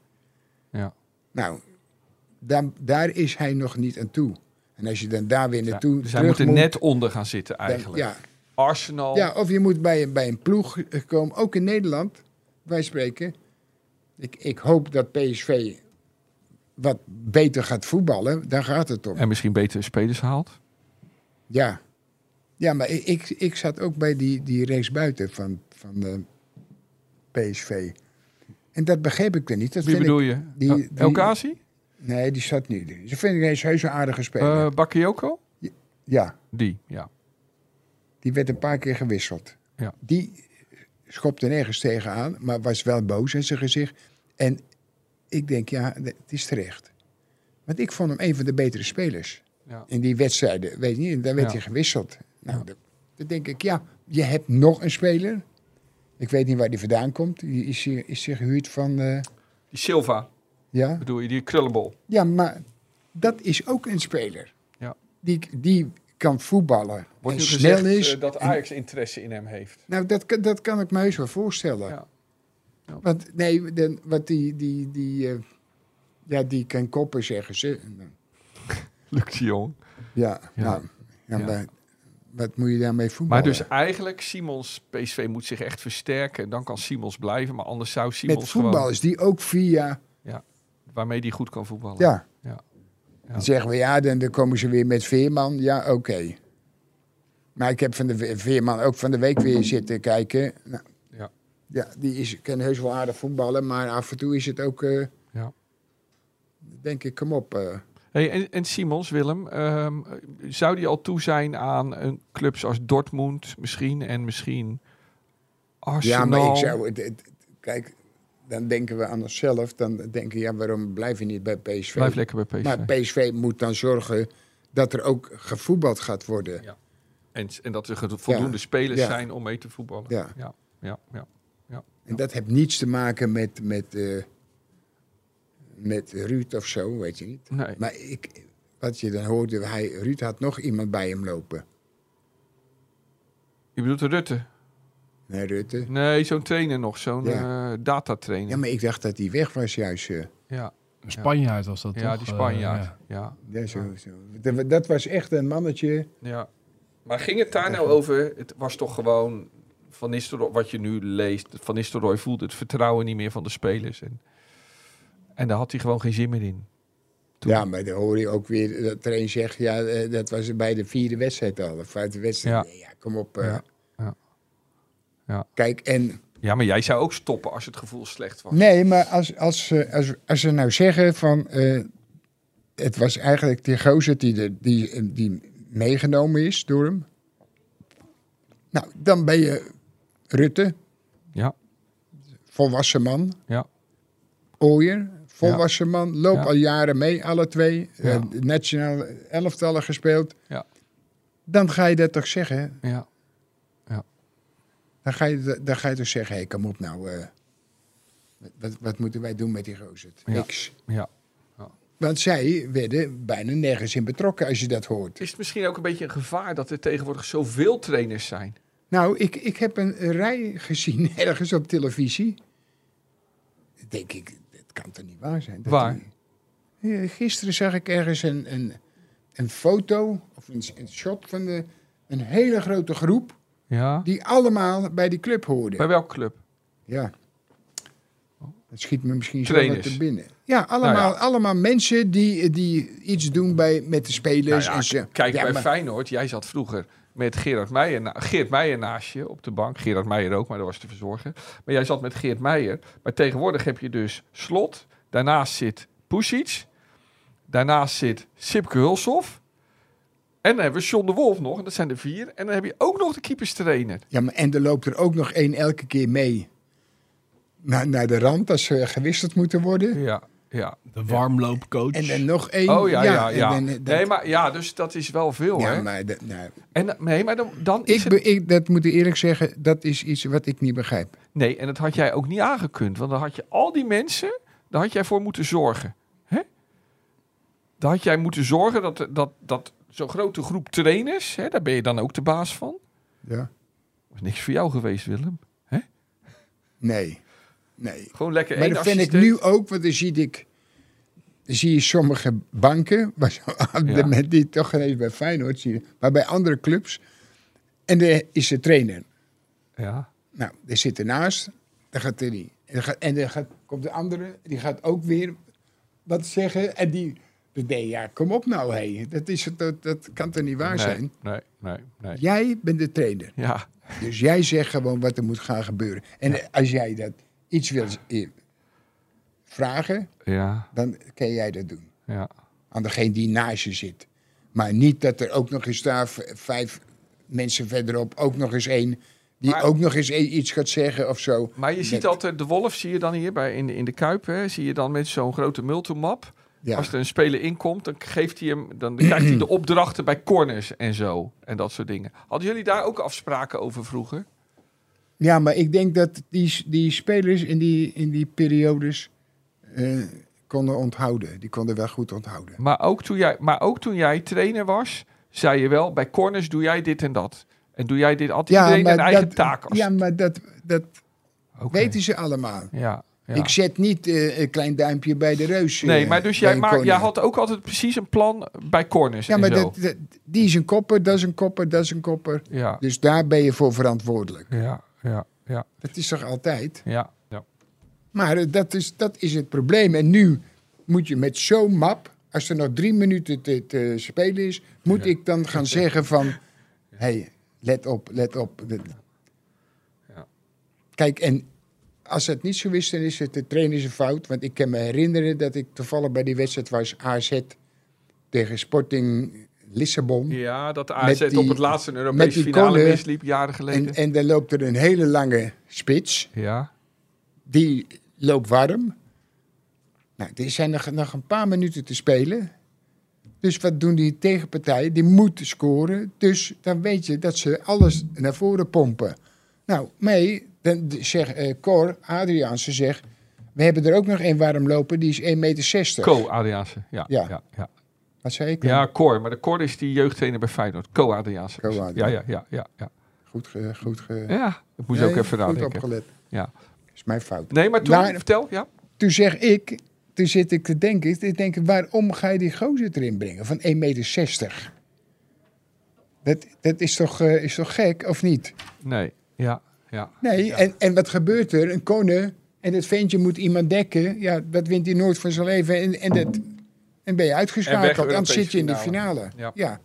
Ja.
Nou, daar, daar is hij nog niet aan toe. En als je dan daar weer
Ja,
naartoe
dus hij
terug
moet er
moet,
net onder gaan zitten
dan-
eigenlijk.
ja,
Arsenal,
ja, of je moet bij, een- bij een ploeg eh, komen, ook in Nederland. Wij spreken. Ik, ik hoop dat PSV wat beter gaat voetballen. Daar gaat het om.
en misschien betere spelers haalt.
Ja. Ja, maar ik, ik, ik zat ook bij die, die race buiten van, van de PSV. En dat begreep ik er niet. Dat
Wie
vind ik-
bedoel je?
die-
Die,
die-
El Ghazi?
nee, die zat niet. Ze vinden ineens heus een aardige speler.
Eh, Bakayoko?
ja,
Die, ja.
die werd een paar keer gewisseld.
Ja.
Die schopte nergens tegenaan, maar was wel boos in zijn gezicht. En ik denk, ja, het is terecht. Want ik vond hem een van de betere spelers.
ja.
in die wedstrijden, weet je niet, dan werd
Ja.
hij gewisseld. Nou, dat- dan denk ik, ja, je hebt nog een speler. Ik weet niet waar die vandaan komt. Die is hier, is hier gehuurd van, eh,
Die Silva,
ja.
bedoel je? Die krullenbol.
Ja, maar dat is ook een speler.
Ja.
Die, die kan voetballen.
Wordt
en
nu
snel
gezegd
is.
eh, dat Ajax interesse in hem heeft.
Nou, dat, kan- dat kan ik me heus wel voorstellen.
Ja. Ja.
Want nee, dan, wat die, die, die, eh, ja, die kan koppen, zeggen ze.
Lukt die jong.
Ja,
Ja.
nou, ja,
Ja.
maar wat moet je daarmee voetballen?
Maar dus eigenlijk, Simons, PSV moet zich echt versterken. En dan kan Simons blijven. Maar anders zou
Met
Simons
voetbal
gewoon,
is die ook via...
waarmee hij goed kan voetballen.
Ja.
Ja. Ja.
Dan zeggen we ja, dan, dan komen ze weer met Veerman. Ja, oké. Maar ik heb van de Ve- Veerman ook van de week weer zitten kijken. Nou,
Ja.
ja, die is, kan heus wel aardig voetballen, maar af en toe is het ook, eh,
Ja.
denk ik, kom op. eh.
Hey, en, en Simons, Willem, ehm, zou die al toe zijn aan een clubs als Dortmund misschien en misschien
Ja,
Arsenal?
maar ik zou. het- het- kijk, dan denken we aan onszelf. Dan denken we, ja, waarom blijf je niet bij PSV?
Blijf lekker bij PSV.
Maar PSV moet dan zorgen dat er ook gevoetbald gaat worden.
Ja. en, en dat er ge- voldoende spelers
Ja.
zijn om mee te voetballen.
Ja.
Ja, ja, ja.
En dat heeft niets te maken met, met, eh, met Ruud of zo, weet je niet.
Nee.
Maar ik, wat je dan hoorde, hij, Ruud had nog iemand bij hem lopen.
Je bedoelt Rutte?
Nee, Rutte.
Nee, zo'n trainer nog, zo'n
Ja.
eh, datatrainer.
Ja, maar ik dacht dat hij weg was juist. eh.
ja.
Een Spanjaard was dat
Ja,
toch?
die
Eh,
Spanjaard.
ja.
ja.
Ja,
Ah.
zo, zo. Dat- Dat was echt een mannetje.
Ja. Maar ging het daar nou over? Het was toch gewoon Van Nistelrooy, wat je nu leest. Van Nistelrooy voelde het vertrouwen niet meer van de spelers. En, en daar had hij gewoon geen zin meer in. Toen-
Ja, maar dan hoor je ook weer dat er een zegt, ja, eh, dat was bij de vierde wedstrijd al. Of vijfde wedstrijd.
Ja.
Nee, Ja, kom op. eh.
Ja, ja. Ja.
Kijk, en
Ja, maar jij zou ook stoppen als het gevoel slecht was.
Nee, maar als, als, ze- als, als ze nou zeggen van... eh, het was eigenlijk die gozer die, de, die, die eh, meegenomen is door hem. Nou, dan ben je Rutte,
Ja,
volwassen man.
ja.
Ooyer, volwassen man. Loop
Ja.
al jaren mee, alle twee.
Ja.
Eh, nationale elftallen gespeeld.
Ja.
Dan ga je dat toch zeggen?
Ja,
Dan ga je, dan ga je toch zeggen, hé, hey, kom op nou. eh, wat, wat moeten wij doen met die gozer?
Ja.
Niks.
ja.
Want zij werden bijna nergens in betrokken, als je dat hoort.
Is het misschien ook een beetje een gevaar dat er tegenwoordig zoveel trainers zijn?
Nou, ik, ik heb een rij gezien ergens op televisie. Dan Denk ik, dat kan toch niet waar zijn? Dat
Waar?
die- Ja, gisteren zag ik ergens een, een, een foto of een, een shot van de, een hele grote groep
Ja.
die allemaal bij die club hoorden.
Bij welke club?
Ja. Dat schiet me misschien zo
Trainers.
wat te binnen. Ja, allemaal,
Nou ja.
allemaal mensen die, die iets doen bij, met de spelers.
Nou ja,
en ze,
Kijk,
Ja,
bij
maar-
Feyenoord, jij zat vroeger met Gerard Meijer, na- Geert Meijer naast je op de bank. Gerard Meijer ook, maar dat was te verzorgen. Maar jij zat met Geert Meijer. Maar tegenwoordig heb je dus Slot. Daarnaast zit Pusic. Daarnaast zit Sipke Hulshoff. En dan hebben we John de Wolf nog. En dat zijn er vier. En dan heb je ook nog de keeperstrainer.
Ja, maar en er loopt er ook nog één elke keer mee naar, naar de rand als ze gewisseld moeten worden.
Ja, ja.
De warmloopcoach.
En dan nog één.
Oh ja, ja, ja.
en dan- eh, dat-
Nee, maar ja, dus dat is wel veel,
ja,
hè?
maar dat- nou,
En, nee, maar dan, dan is
ik,
het-
be- ik, dat moet ik eerlijk zeggen, dat is iets wat ik niet begrijp.
Nee, en dat had jij ook niet aangekund. Want dan had je al die mensen, daar had jij voor moeten zorgen. Hè? Daar had jij moeten zorgen dat, dat, dat zo'n grote groep trainers, hè, daar ben je dan ook de baas van.
Ja.
Dat is niks voor jou geweest, Willem.
Nee. Nee.
Gewoon lekker
Maar
één
dat vind ik nu
assistent.
ook, want dan zie ik. dan Zie je sommige banken, waar zo,
Ja.
met die toch geen eens bij Feyenoord zie je, maar bij andere clubs. En daar is de trainer.
Ja,
Nou, er zit ernaast, dan gaat er die. En dan, gaat, en dan gaat, komt de andere, die gaat ook weer wat zeggen. En die, dus nee, ja, kom op nou, hé. Dat, is, het- dat, dat kan toch niet waar
nee,
zijn?
Nee, nee, nee.
Jij bent de trainer.
Ja,
Dus jij zegt gewoon wat er moet gaan gebeuren. En eh, als jij dat iets wil eh, vragen,
ja,
dan kan jij dat doen.
ja.
Aan degene die naast je zit. Maar niet dat er ook nog eens daar v- vijf mensen verderop ook nog eens één... die
Maar-
ook nog eens eh, iets gaat zeggen of zo.
Maar je ziet
Dat-
altijd, de wolf zie je dan hier bij, in, de, in de Kuip, hè, zie je dan met zo'n grote multimap.
Ja.
Als er een speler inkomt, dan, geeft hij hem, dan krijgt hij de opdrachten bij corners en zo. En dat soort dingen. Hadden jullie daar ook afspraken over vroeger?
Ja, maar ik denk dat die, die spelers in die, in die periodes eh, konden onthouden. Die konden wel goed onthouden.
Maar ook, toen jij, maar ook toen jij trainer was, zei je wel, bij corners doe jij dit en dat. En doe jij dit, had iedereen een eigen
dat,
taak. Als
ja, maar dat, dat
Oké.
weten ze allemaal.
Ja, ja.
Ik zet niet eh, een klein duimpje bij de reus. eh,
nee, maar dus jij,
bij een
maar, jij
koning.
had ook altijd precies een plan bij corners
Ja,
en
maar
zo.
dat, dat- die is een kopper, dat is een kopper, dat is een kopper.
Ja,
Dus daar ben je voor verantwoordelijk.
ja, ja, ja,
Dat is toch altijd?
ja, ja.
Maar eh, dat is, dat is het probleem. En nu moet je met zo'n map, als er nog drie minuten te, te spelen is, moet ik dan gaan zeggen van, hey, let op, let op. De-
Ja.
Kijk, en als het niet zo is, dan is het de trainer zijn fout. Want ik kan me herinneren dat ik toevallig bij die wedstrijd was AZ tegen Sporting Lissabon.
Ja, dat de AZ
Met die-
op het laatste een
met
Europese
die
finale
corner.
misliep, jaren geleden.
En, en daar loopt er een hele lange spits.
ja,
Die loopt warm. Nou, er zijn nog, nog een paar minuten te spelen. Dus wat doen die tegenpartijen? Die moet scoren. Dus dan weet je dat ze alles naar voren pompen. Nou, mee, dan d- zegt eh, Cor, Adriaanse zegt... We hebben er ook nog één warm lopen, die is 1,60 meter.
co-Adriaanse. Ja, ja.
Ja.
Ja, ja.
Wat zei ik?
Cor. Maar de Cor is die jeugdtrainer bij Feyenoord. Co-Adriaanse.
Co-Adriaanse.
Ja, ja, ja, ja, ja.
Goed, ge, goed ge...
Ja, dat moest
Nee,
ook even
Goed
nadenken.
opgelet. Nou,
Ja.
is mijn fout.
Nee, maar toen,
Maar-
vertel. Ja.
Toen zeg ik, toen zit ik te denken, ik denk, waarom ga je die gozer erin brengen van 1,60 meter? Dat, dat is, toch, eh, is toch gek, of niet?
Nee, ja, ja.
Nee, en, en wat gebeurt er? Een konen en dat ventje moet iemand dekken. Ja, dat wint hij nooit van zijn leven en, en, dat, en ben je
En weg
uitgeschakeld. Dan
Europese
zit je in de
finale.
finale.
Ja.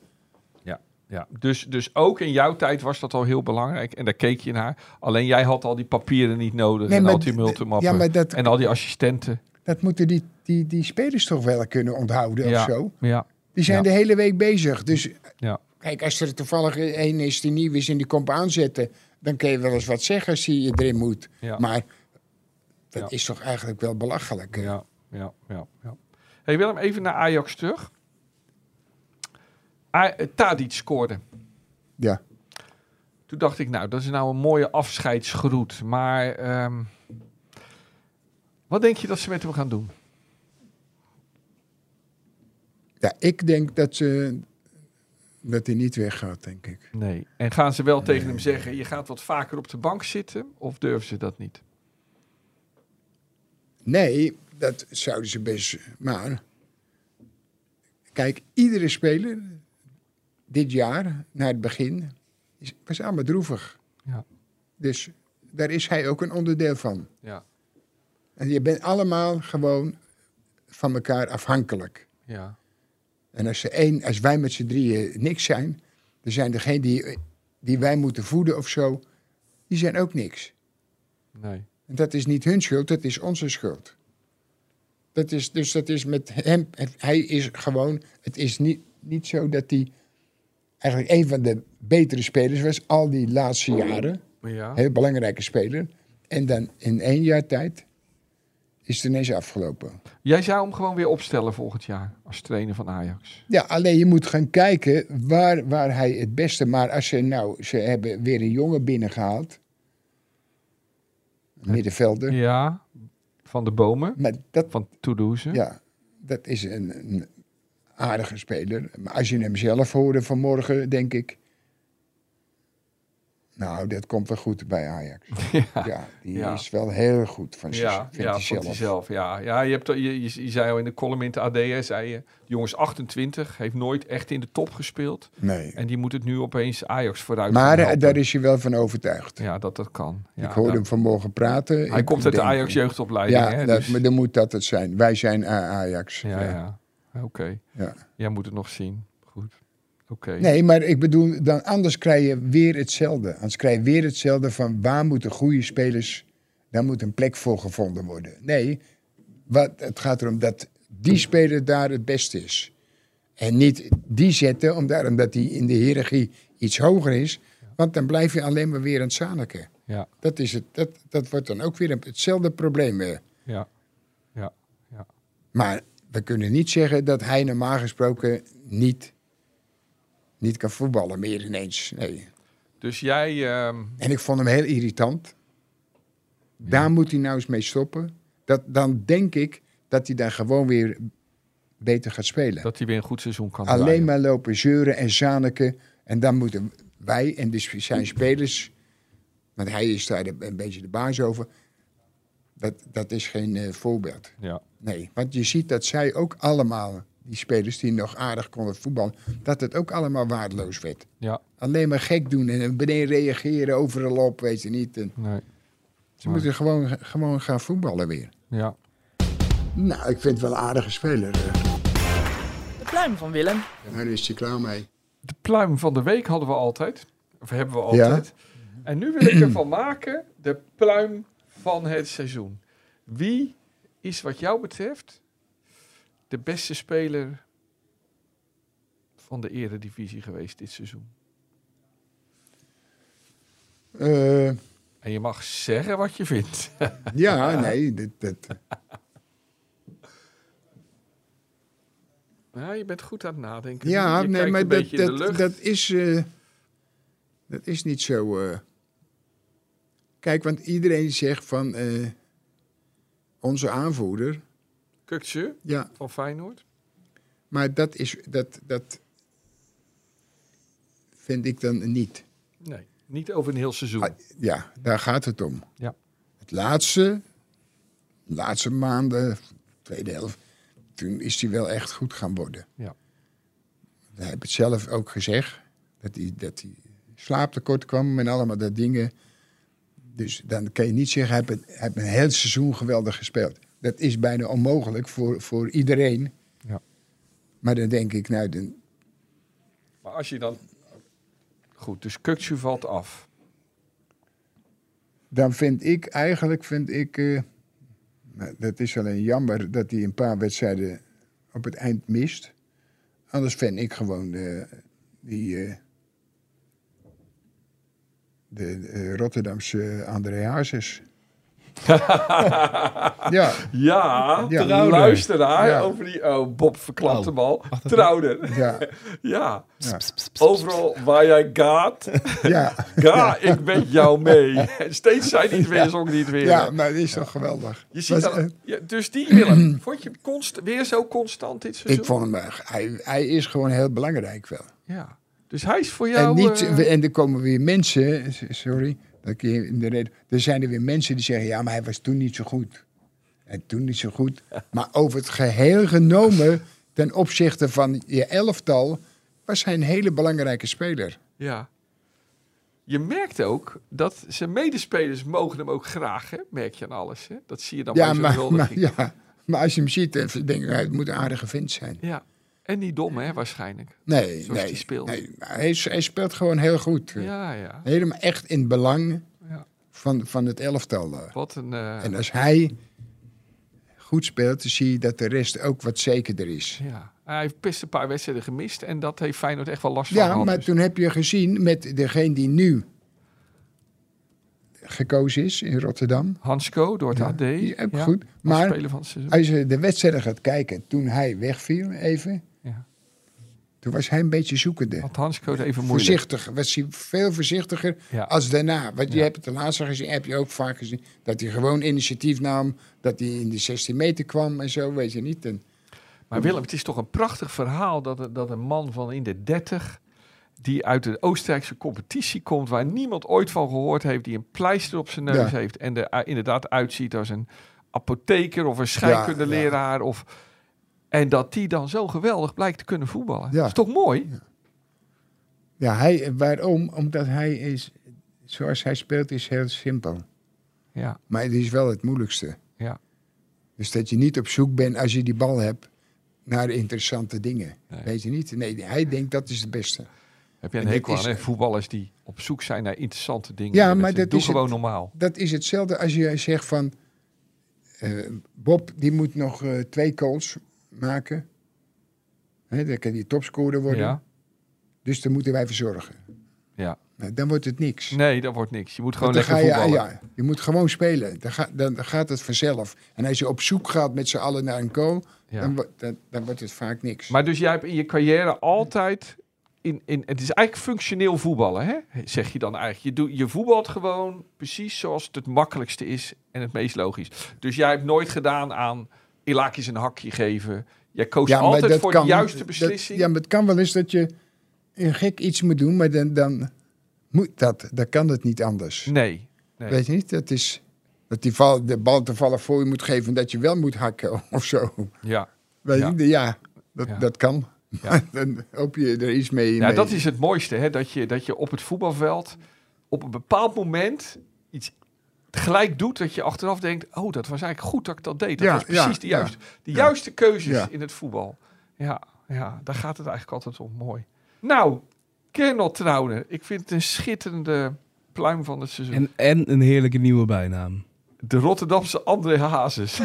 Ja.
ja. Dus, dus ook in jouw tijd was dat al heel belangrijk. En daar keek je naar. Alleen jij had al die papieren niet nodig.
Nee,
en
maar
al die
d-
multimappen.
ja, maar dat-
En al die assistenten.
Dat moeten die, die, die spelers toch wel kunnen onthouden
ja.
of zo.
Ja,
Die zijn
Ja.
de hele week bezig. Dus
ja.
Kijk, als er toevallig één is die nieuw is en die komt aanzetten, dan kun je wel eens wat zeggen als die erin moet.
Ja.
Maar dat
Ja.
is toch eigenlijk wel belachelijk. hè?
Ja, ja, ja. ja. Hey Willem, even naar Ajax terug. A- eh, Tadic scoorde.
Ja.
Toen dacht ik, nou, dat is nou een mooie afscheidsgroet. Maar ehm, wat denk je dat ze met hem gaan doen?
Ja, ik denk dat ze dat hij niet weggaat, denk ik.
Nee. En gaan ze wel tegen hem zeggen, je gaat wat vaker op de bank zitten? Of durven ze dat niet?
Nee, dat zouden ze best. Maar kijk, iedere speler dit jaar naar het begin is- was allemaal droevig.
Ja.
Dus daar is hij ook een onderdeel van.
Ja,
En je bent allemaal gewoon van elkaar afhankelijk.
ja,
En als, er één, als wij met z'n drieën niks zijn, dan zijn degenen die, die wij moeten voeden of zo, die zijn ook niks.
nee.
En dat is niet hun schuld, dat is onze schuld. Dat is, dus dat is met hem, hij is gewoon, het is niet, niet zo dat hij eigenlijk een van de betere spelers was al die laatste jaren.
Ja,
Heel belangrijke speler. En dan in één jaar tijd is het ineens afgelopen.
Jij zou hem gewoon weer opstellen volgend jaar als trainer van Ajax.
Ja, alleen je moet gaan kijken waar, waar hij het beste. Maar als ze nou, ze hebben weer een jongen binnengehaald. Een Middenvelder.
Ja, van de bomen,
Maar dat,
van Toulouse.
ja, dat is een, een aardige speler. Maar als je hem zelf hoorde vanmorgen, denk ik. Nou, dat komt wel goed bij Ajax. Ja, die
ja.
is wel heel goed van zichzelf.
Ja,
vindt hij
ja vond
zelf.
hij zelf. Ja, ja je, hebt, al- je, je, je zei al in de column in het AD, hè, zei je, jongens 28, heeft nooit echt in de top gespeeld.
Nee.
En die moet het nu opeens Ajax vooruit
Maar
gaan
eh,
helpen.
daar is je wel van overtuigd.
Ja, dat dat kan. Ja,
ik hoorde
ja.
hem vanmorgen praten.
Hij
Ik
komt uit de
denk-
Ajax jeugdopleiding.
Ja,
hè,
dat,
dus-
maar dan moet dat het zijn. Wij zijn eh, Ajax.
ja, ja. Oké,
Ja.
jij moet het nog zien. Goed, oké.
Nee, maar ik bedoel, dan anders krijg je weer hetzelfde. Anders krijg je weer hetzelfde van waar moeten goede spelers... daar moet een plek voor gevonden worden. Nee, wat, het gaat erom dat die speler daar het beste is. En niet die zetten, omdat, omdat die in de hiërarchie iets hoger is. Want dan blijf je alleen maar weer aan het zaniken.
Ja,
Dat, is het, dat, dat wordt dan ook weer een- hetzelfde probleem. eh.
ja, ja.
Maar we kunnen niet zeggen dat hij normaal gesproken niet, niet kan voetballen meer ineens. Nee.
Dus jij... ehm,
En ik vond hem heel irritant. Daar moet hij nou eens mee stoppen. Dat, dan denk ik dat hij daar gewoon weer beter gaat spelen.
dat hij weer een goed seizoen kan
Alleen
draaien.
maar lopen zeuren en zaniken. En dan moeten wij en de, sp- zijn spelers... Want hij is daar de- een beetje de baas over. Dat, dat is geen eh, voorbeeld.
Ja,
Nee, want je ziet dat zij ook allemaal, die spelers die nog aardig konden voetballen, dat het ook allemaal waardeloos werd.
ja,
Alleen maar gek doen en beneden reageren, overal op, weet je niet. En
nee,
ze moeten gewoon, gewoon gaan voetballen weer.
ja.
Nou, ik vind het wel een aardige speler.
De pluim van Willem.
Daar is hij klaar mee.
De pluim van de week hadden we altijd. Of hebben we
Ja.
altijd. Mhm. En nu wil ik ervan maken de pluim van het seizoen. Wie is wat jou betreft de beste speler van de eredivisie geweest dit seizoen?
Eh,
En je mag zeggen wat je vindt.
ja, nee. Dit, dit.
Ja, je bent goed aan het nadenken.
Ja,
je
nee,
kijkt
maar
een
dat,
beetje in de
dat,
lucht.
dat, is, eh, dat is niet zo. eh. Kijk, want iedereen zegt van eh, onze aanvoerder.
Kukçu
Ja,
van Feyenoord.
Maar dat is dat, dat vind ik dan niet.
Nee, niet over een heel seizoen.
Ah, ja, daar gaat het om.
Ja.
Het laatste, laatste maanden, tweede helft, toen is hij wel echt goed gaan worden.
Ja.
Hij heeft het zelf ook gezegd dat hij, dat hij slaaptekort kwam en allemaal dat dingen. Dus dan kan je niet zeggen, hij heeft, het- hij heeft een heel seizoen geweldig gespeeld. Dat is bijna onmogelijk voor, voor iedereen.
Ja.
Maar dan denk ik, nou, dan,
Maar als je dan... Goed, dus Kukçu valt af.
dan vind ik eigenlijk, vind ik, eh, nou, dat is alleen jammer dat hij een paar wedstrijden op het eind mist. Anders vind ik gewoon eh, die eh, de, eh, Rotterdamse André Hazes. ja,
Ja,
Ja.
Trouwder.
luisteraar
Ja.
over die... Oh, Bob verklapt
Oh.
hem al. Trouwder.
ja,
Ja.
Ja.
Overal waar jij gaat,
ja,
ga ik met jou mee. En Steeds zijn niet weer, zong niet weer.
ja, maar dat is toch geweldig.
Je ziet
Was- eh,
dat, ja, dus die Willem, vond je hem const, weer zo constant dit seizoen?
Ik vond hem, eh, hij, hij is gewoon heel belangrijk wel.
Ja. Dus hij is voor jou...
En, niet,
eh,
en er komen weer mensen, s- sorry, dat ik je in de reden, er zijn er weer mensen die zeggen, ja, maar hij was toen niet zo goed. En toen niet zo goed. Maar over het geheel genomen, ten opzichte van je elftal, was hij een hele belangrijke speler.
Ja. Je merkt ook dat zijn medespelers mogen hem ook graag, hè? merk je aan alles. Hè? Dat zie je dan
Ja
bij zo'n
maar, maar,
huldiging.
ja, maar als je hem ziet, dan denk ik, het moet een aardige vent zijn.
Ja. En niet dom, hè, waarschijnlijk.
Nee,
Zoals
nee,
die speelt.
nee maar hij, is- hij speelt gewoon heel goed.
Ja, ja.
Helemaal echt in het belang
Ja.
van, van het elftal. eh.
Wat een... eh,
En als hij goed speelt, dan zie je dat de rest ook wat zekerder is.
ja. Hij heeft best een paar wedstrijden gemist en dat heeft Feyenoord echt wel last van
Ja,
gehad,
maar
dus.
toen heb je gezien met degene die nu gekozen is in Rotterdam.
Hansko door het AD.
Die is ook
ja,
goed.
als
Maar
speler van het seizoen.
als je de wedstrijden gaat kijken, toen hij wegviel even,
Ja.
toen was hij een beetje zoekende.
Want Hansko het even moeilijk.
Voorzichtig, was hij veel voorzichtiger
Ja.
als daarna. Want je
Ja.
hebt het de laatste gezien, heb je ook vaak gezien, dat hij gewoon initiatief nam, dat hij in de 16 meter kwam en zo, weet je niet. En
Maar Willem, het is toch een prachtig verhaal dat, een- dat een man van in de 30 die uit de Oostenrijkse competitie komt, waar niemand ooit van gehoord heeft, die een pleister op zijn neus
Ja.
heeft en er eh, inderdaad uitziet als een apotheker of een scheikundeleraar. Of, en dat die dan zo geweldig blijkt te kunnen voetballen.
Ja.
Dat is toch mooi?
Ja, hij, waarom? Omdat hij is, zoals hij speelt, is heel simpel.
Ja,
Maar het is wel het moeilijkste.
ja.
Dus dat je niet op zoek bent, als je die bal hebt, naar interessante dingen.
Nee.
Weet je niet? Nee, hij denkt dat is het beste.
Heb je een
En dit
hekel aan
is-
hè? voetballers die op zoek zijn naar interessante dingen.
Ja,
in de
maar dat
wedstrijd. Doe
is
gewoon
het-
normaal.
Dat is hetzelfde als je zegt van... eh, Bob, die moet nog eh, twee goals maken. Hè, dan kan die topscorer worden.
Ja.
Dus daar moeten wij voor zorgen.
Ja.
Nou, dan wordt het niks.
Nee, dat wordt niks. Je moet gewoon
Dan
lekker
ga je,
voetballen.
ja, je moet gewoon spelen. Dan, ga- dan gaat het vanzelf. En als je op zoek gaat met z'n allen naar een goal,
Ja.
dan, wo- dan, dan wordt het vaak niks.
Maar dus jij hebt in je carrière altijd. In, in, het is eigenlijk functioneel voetballen, hè? zeg je dan eigenlijk. Je, doet je voetbalt gewoon precies zoals het het makkelijkste is en het meest logisch. Dus jij hebt nooit gedaan aan Ilakis een hakje geven. Jij koos altijd voor de juiste
dat-
beslissing.
ja, maar het kan wel eens dat je een gek iets moet doen, maar dan, dan moet dat. Dan kan het niet anders.
nee, nee.
Weet je niet? Dat is dat die val, de bal te vallen voor je moet geven en dat je wel moet hakken of zo.
Ja.
Weet
Ja.
je? Ja, dat,
Ja.
dat kan.
Ja.
Maar dan hoop je er iets mee.
ja,
mee-
Nou, dat is het mooiste, hè? Dat, je, dat je op het voetbalveld op een bepaald moment iets gelijk doet dat je achteraf denkt... oh, dat was eigenlijk goed dat ik dat deed. Dat
Ja,
was precies
ja,
de
ja.
juiste, de juiste keuzes
Ja.
in het voetbal. Ja, ja, daar gaat het eigenlijk altijd om. Mooi. Nou, Kernel Trouwner. Ik vind het een schitterende pluim van het seizoen.
En, en een heerlijke nieuwe bijnaam.
De Rotterdamse André Hazes.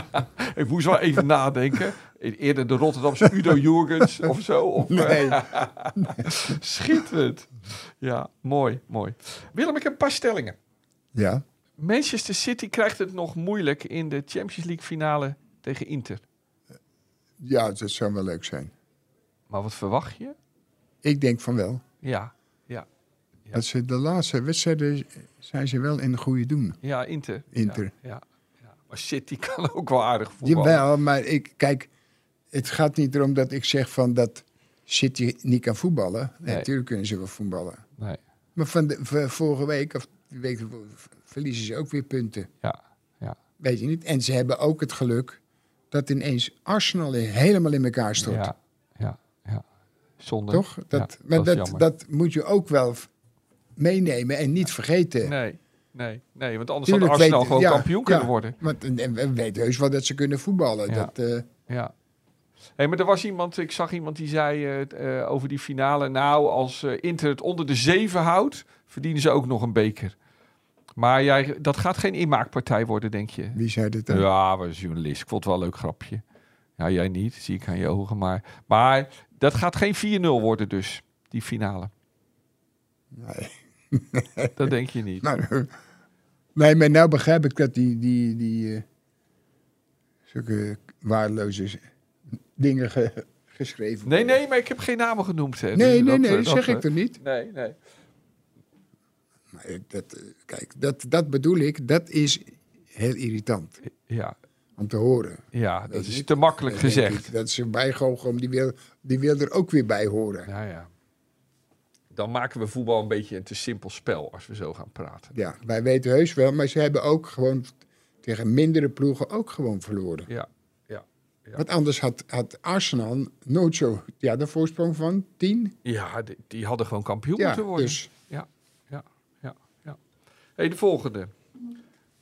ik moest wel even nadenken. E- Eerder de Rotterdamse Udo Jurgens of zo. Of, eh,
Nee.
Schitterend. Ja, mooi, mooi. Willem, ik heb een paar stellingen.
Ja.
Manchester City krijgt het nog moeilijk in de Champions League finale tegen Inter.
ja, dat zou wel leuk zijn.
Maar wat verwacht je?
Ik denk van wel.
Ja, Ja.
Dat ze de laatste wedstrijden zijn ze wel in de goede doen.
ja Inter.
Inter.
Ja, ja, ja. Maar City kan ook wel aardig voetballen.
Jawel, maar ik, kijk, het gaat niet erom dat ik zeg van dat City niet kan voetballen.
Nee.
Nee, natuurlijk kunnen ze wel voetballen.
Nee.
Maar van de, van vorige week of die week ervoor, v- verliezen ze ook weer punten.
Ja, ja.
Weet je niet? En ze hebben ook het geluk dat ineens Arsenal in- helemaal in elkaar stort.
Ja, ja, ja. Zonder.
Toch? Dat,
Ja,
maar
dat is
dat, dat,
jammer.
moet je ook wel f- meenemen en niet vergeten.
Nee, nee, nee. Want anders
Tuurlijk
had Arsenal
weet-
gewoon
ja,
kampioen
ja.
kunnen worden.
Want en- en we weten heus wel dat ze kunnen voetballen.
Ja.
Dat, eh,
Ja. Hey, maar er was iemand, ik zag iemand die zei eh, t- eh, over die finale. Nou, als eh, Inter het onder de zeven houdt, verdienen ze ook nog een beker. Maar jij, dat gaat geen inmaakpartij worden, denk je?
wie zei dat dan?
Ja, was journalist. Ik vond het wel een leuk grapje. Ja, jij niet, zie ik aan je ogen. Maar, maar dat gaat geen 4-0 worden dus. die finale?
Nee.
Dat denk je niet.
Nou, nee, maar nou begrijp ik dat die, die, die eh, zulke waardeloze z- dingen ge- geschreven
Nee,
worden.
nee, maar ik heb geen namen genoemd. Hè. Dus
Nee, nee,
dat,
nee,
eh,
dat zeg
eh,
ik toch niet?
Nee, nee.
Maar eh, dat, eh, kijk, dat, dat bedoel ik, dat is heel irritant
Ja,
om te horen.
ja dat
Weet je
is
niet?
te makkelijk
Dan denk
gezegd.
ik, Dat is een bijgoochem, die wil, die wil er ook weer bij horen.
Ja, ja. Dan maken we voetbal een beetje een te simpel spel als we zo gaan praten.
Ja, wij weten heus wel, maar ze hebben ook gewoon tegen mindere ploegen ook gewoon verloren.
Ja, ja, Ja.
Want anders had, had Arsenal nooit zo... Ja, de voorsprong van 10.
ja die, die hadden gewoon kampioen
Ja,
moeten worden.
dus
Ja, ja, ja, ja. Hey, de volgende.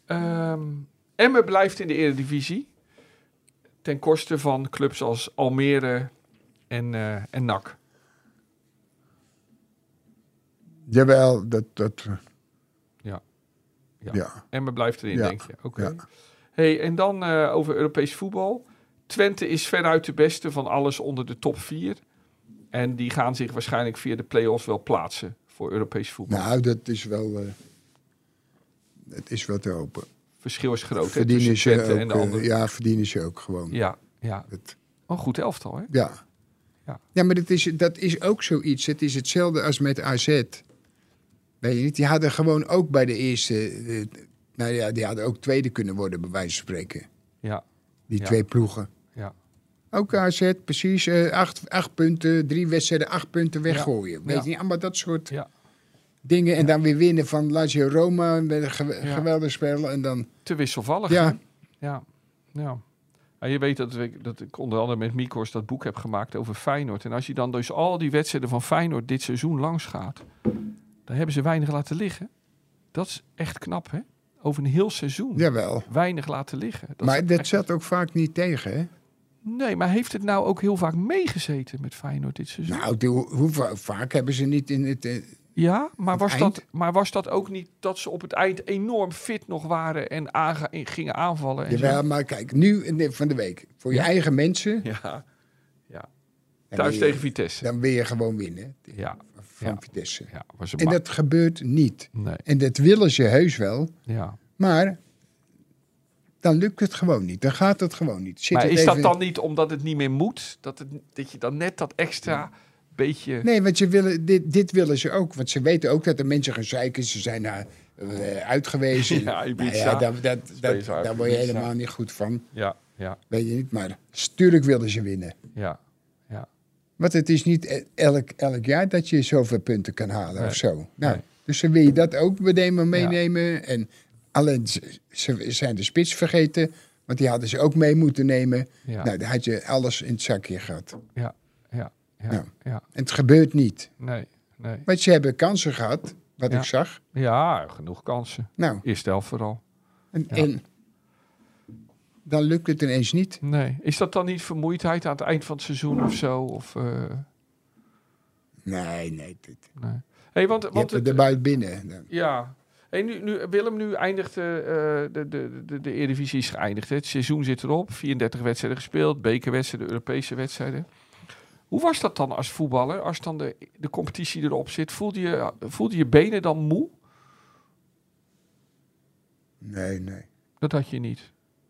Ehm Emmen blijft in de Eredivisie. Ten koste van clubs als Almere en, eh, en NAC.
jawel, dat... dat eh,
Ja. Ja.
Ja.
Emmen blijft erin,
Ja,
denk je. Oké.
ja.
Hey, en dan eh, over Europees voetbal. Twente is veruit de beste van alles onder de top 4. En die gaan zich waarschijnlijk via de play-offs wel plaatsen voor Europees voetbal.
Nou, dat is wel... eh het is wel te hopen.
Verschil is groot. hè,
Verdienen
tussen
ze
Twente en
ook,
de
eh,
anderen.
ja, verdienen ze ook gewoon.
ja, ja.
Het-
Oh, goed elftal, hè?
Ja.
Ja.
Ja, maar dat is, dat is ook zoiets. Het is hetzelfde als met AZ. Weet je niet? Die hadden gewoon ook bij de eerste... eh, nou ja, die hadden ook tweede kunnen worden, bij wijze van spreken.
Ja,
Die
Ja.
twee ploegen.
ja.
Ook AZ, precies. eh, acht, acht punten, drie wedstrijden, acht punten weggooien. Weet
Ja.
je niet? Allemaal dat soort
Ja.
dingen. En dan weer winnen van Lazio Roma. Met een ge-
Ja.
geweldig spel. En dan...
Te wisselvallig. hè?
Ja,
Ja, ja. En je weet dat, we, dat ik onder andere met Mikos dat boek heb gemaakt over Feyenoord. En als je dan dus al die wedstrijden van Feyenoord dit seizoen langs gaat, dan hebben ze weinig laten liggen. Dat is echt knap, hè? Over een heel seizoen.
jawel.
Weinig laten liggen. Dat is
maar dat
echt-
zat ook vaak niet tegen, hè?
Nee, maar heeft het nou ook heel vaak meegezeten met Feyenoord dit seizoen?
Nou, die- hoe, hoe va- vaak hebben ze niet in het... eh,
ja, maar
het
was,
eind?
dat, maar was dat ook niet dat ze op het eind enorm fit nog waren en aange- en gingen aanvallen? En zo?
Jawel, maar kijk, nu in de- van de week. Voor je
Ja.
eigen mensen.
ja. ja.
dan
Thuis
wil je-
tegen Vitesse.
Dan wil je gewoon winnen
Ja,
van
Ja.
Vitesse.
ja was een
En
ma-
dat gebeurt niet.
Nee,
En dat willen ze heus wel.
ja.
Maar dan lukt het gewoon niet. Dan gaat het gewoon niet. Zit
Maar
het
is dat
even-
dan niet omdat het niet meer moet? Dat, het, dat je dan net dat extra beetje...
Nee, want ze willen, dit, dit willen ze ook. Want ze weten ook dat de mensen gaan zeiken. Ze zijn naar, eh, uitgewezen.
Ja, Ibiza.
Nou ja, dat, dat, dat,
Space Harp,
daar word je
Ibiza.
helemaal niet goed van.
Ja, ja,
Weet je niet. Maar natuurlijk willen ze winnen.
ja.
Want het is niet e- elk, elk jaar dat je zoveel punten kan halen
Nee.
of zo. Nou,
Nee.
Dus dan wil je dat ook benemen,
Ja.
meenemen. En alleen ze, ze zijn de spits vergeten. Want die hadden ze ook mee moeten nemen.
Ja,
Nou, dan had je alles in het zakje gehad.
ja, ja, ja, ja,
Nou. En het gebeurt niet.
Nee, nee.
Want ze hebben kansen gehad, wat
Ja.
ik zag.
Ja, genoeg kansen.
Nou,
Eerst elf vooral.
en,
Ja.
en dan lukt het ineens niet.
Nee. Is dat dan niet vermoeidheid aan het eind van het seizoen of zo? Of, eh,
Nee, nee. dit-
nee. Hey, want,
Je hebt
want
het
het,
erbij binnen. Dan.
Ja. Hey, nu, nu, Willem, nu eindigt eh, eh, de, de, de, de Eredivisie is geëindigd. Hè? Het seizoen zit erop. 34 wedstrijden gespeeld. Bekerwedstrijden, Europese wedstrijden. Hoe was dat dan als voetballer? Als dan de, de competitie erop zit, voelde je, voelde je benen dan moe?
Nee, nee.
Dat had je niet.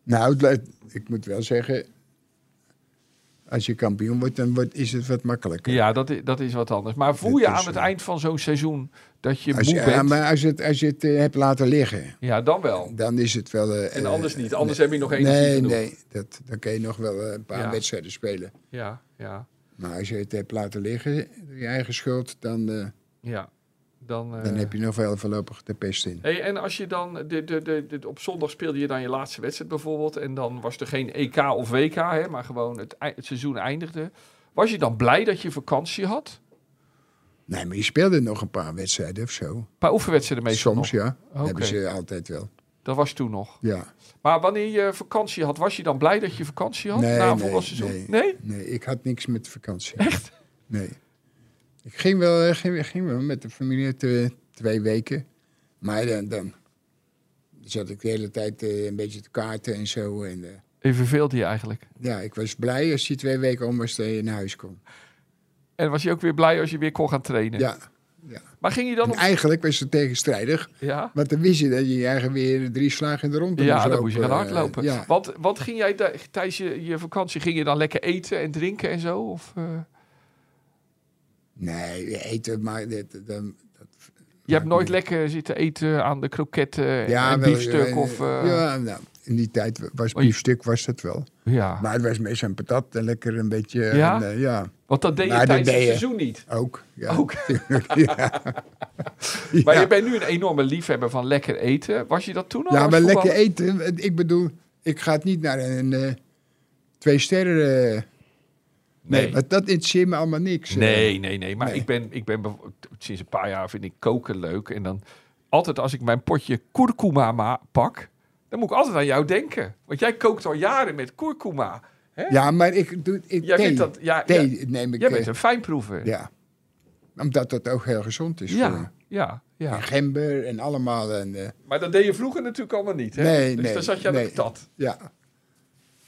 Nou, het lijkt- ik moet wel zeggen... Als je kampioen wordt, dan wordt, is het wat makkelijker.
Ja, dat is, dat is wat anders. Maar voel
Dat
je
is,
aan het
eh,
eind van zo'n seizoen dat je
Als
moe
je, ja,
bent?
maar als je het, als je het eh, hebt laten liggen,
Ja, dan wel.
dan is het wel... eh,
En
eh,
anders niet. Anders heb je nog energie
Nee,
genoeg.
nee. Dat, dan kun je nog wel eh, een paar
Ja.
wedstrijden spelen.
Ja, ja,
Maar als je het hebt laten liggen, door je eigen schuld, dan, eh,
ja. Dan, eh,
dan heb je nog wel voorlopig de pest in.
Hey, en als je dan, de, de, de, de- op zondag speelde je dan je laatste wedstrijd bijvoorbeeld. En dan was er geen EK of WK, hè, maar gewoon het, ei- het seizoen eindigde. Was je dan blij dat je vakantie had?
Nee, maar je speelde nog een paar wedstrijden of zo.
Een paar oefenwedstrijden meestal
Soms,
nog.
ja.
Oké.
Hebben ze altijd wel.
Dat was toen nog.
Ja.
Maar wanneer je vakantie had, was je dan blij dat je vakantie had?
Nee,
na een
nee,
voetbalseizoen?
nee.
nee?
Nee, ik had niks met vakantie.
Echt?
Nee. Ik ging wel, eh, ging, ging wel met de familie te- twee weken. Maar dan, dan zat ik de hele tijd eh, een beetje te kaarten en zo. En, eh,
Je verveelde je eigenlijk.
eh, ja, ik was blij als die twee weken om was dat je naar huis kon.
En was je ook weer blij als je weer kon gaan trainen.
Ja. ja.
Maar ging je dan
En
op...
eigenlijk was het tegenstrijdig.
Ja,
Want dan wist je dat je je eigen weer drie slagen in de ronde
ja
moest
dan moest je gaan
lopen.
hardlopen.
Eh, ja.
Wat, wat ging jij daar- tijdens je, je vakantie? Ging je dan lekker eten en drinken en zo? Of, eh?
Nee, eten, maar dat, dat, dat
Je hebt
ik
nooit
niet.
lekker zitten eten aan de kroketten
Ja,
en
wel,
biefstuk
eh,
of... eh, ja.
Ja, nou, in die tijd was
Oh, je-
biefstuk was dat wel. Maar het was meestal een patat en lekker een beetje...
Ja?
en, eh, ja,
want dat deed je
maar dat
tijdens het
deed je.
seizoen niet.
ook. Ja.
Ook.
ja.
Maar
Ja.
je bent nu een enorme liefhebber van lekker eten. Was je dat toen al?
Ja,
als
maar lekker
voetballer?
eten. Ik bedoel, ik ga het niet naar een eh, twee sterren. eh,
Nee.
Want dat interesseert me allemaal niks. eh.
Nee, nee, nee. Maar
Nee.
ik ben, ik ben bev- sinds een paar jaar vind ik koken leuk. En dan altijd als ik mijn potje kurkuma ma- pak, dan moet ik altijd aan jou denken. Want jij kookt al jaren met kurkuma.
Ja, maar ik doe. Ik,
Jij
thee.
vindt dat, ja, ja,
Thee neem ik.
jij
eh,
bent een fijnproever.
Ja. Omdat dat ook heel gezond is. voor
ja,
me.
ja, ja.
En gember en allemaal. En, eh,
Maar dat deed je vroeger natuurlijk allemaal niet. Hè?
Nee,
dus
nee,
dan zat je aan
nee.
de patat.
ja.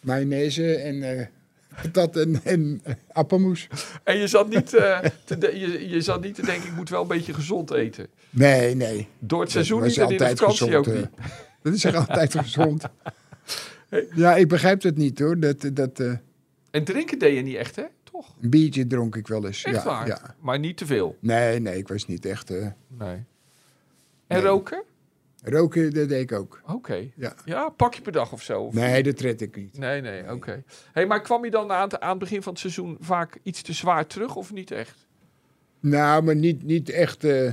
Mayonaise en eh patat en, en eh, appelmoes.
En je zat, niet, eh, te de- je, je zat niet te denken, ik moet wel een beetje gezond eten.
Nee, nee.
Door het
Dat
seizoen
was
niet en in de vakantie ook
eh.
niet.
Dat is echt altijd gezond. Ja, ik begrijp het niet hoor. Dat, dat, eh,
En drinken deed je niet echt, hè? Toch?
een biertje dronk ik wel eens.
Echt
ja,
waar.
Ja.
Maar niet te veel.
Nee, nee, ik was niet echt. eh,
Nee. En
Nee.
roken?
roken, dat deed ik ook.
Oké.
Ja.
Ja, pak je per dag of zo. Of-
Nee, dat red ik niet.
Nee, nee, oké. Hey, maar kwam je dan aan het, aan het begin van het seizoen vaak iets te zwaar terug of niet echt?
Nou, maar niet, niet echt. eh,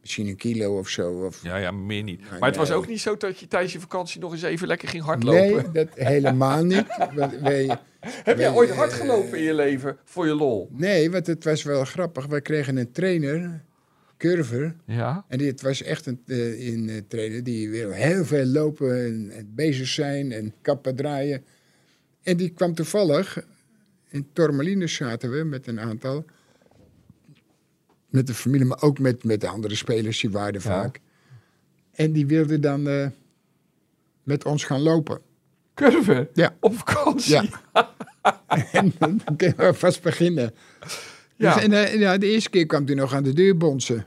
misschien een kilo of zo. Of,
Ja, ja, meer niet. maar
Nee,
het was
nee.
ook niet zo dat je tijdens je vakantie nog eens even lekker ging hardlopen.
nee, dat helemaal niet. Want wij,
Heb jij
Nee,
ooit
eh,
hard gelopen in je leven voor je lol?
nee, want het was wel grappig. Wij kregen een trainer, Curver.
Ja.
En dit was echt een, eh, een eh, trainer die wil heel veel lopen en, en bezig zijn en kappen draaien. En die kwam toevallig, in Tormelines zaten we met een aantal, met de familie, maar ook met, met de andere spelers, die waren er
Ja.
vaak. En die wilde dan eh, met ons gaan lopen.
Curve?
Ja.
Op vakantie?
Ja. en dan kunnen we vast beginnen.
Ja.
Dus, en eh, ja, de eerste keer kwam hij nog aan de deur bonzen.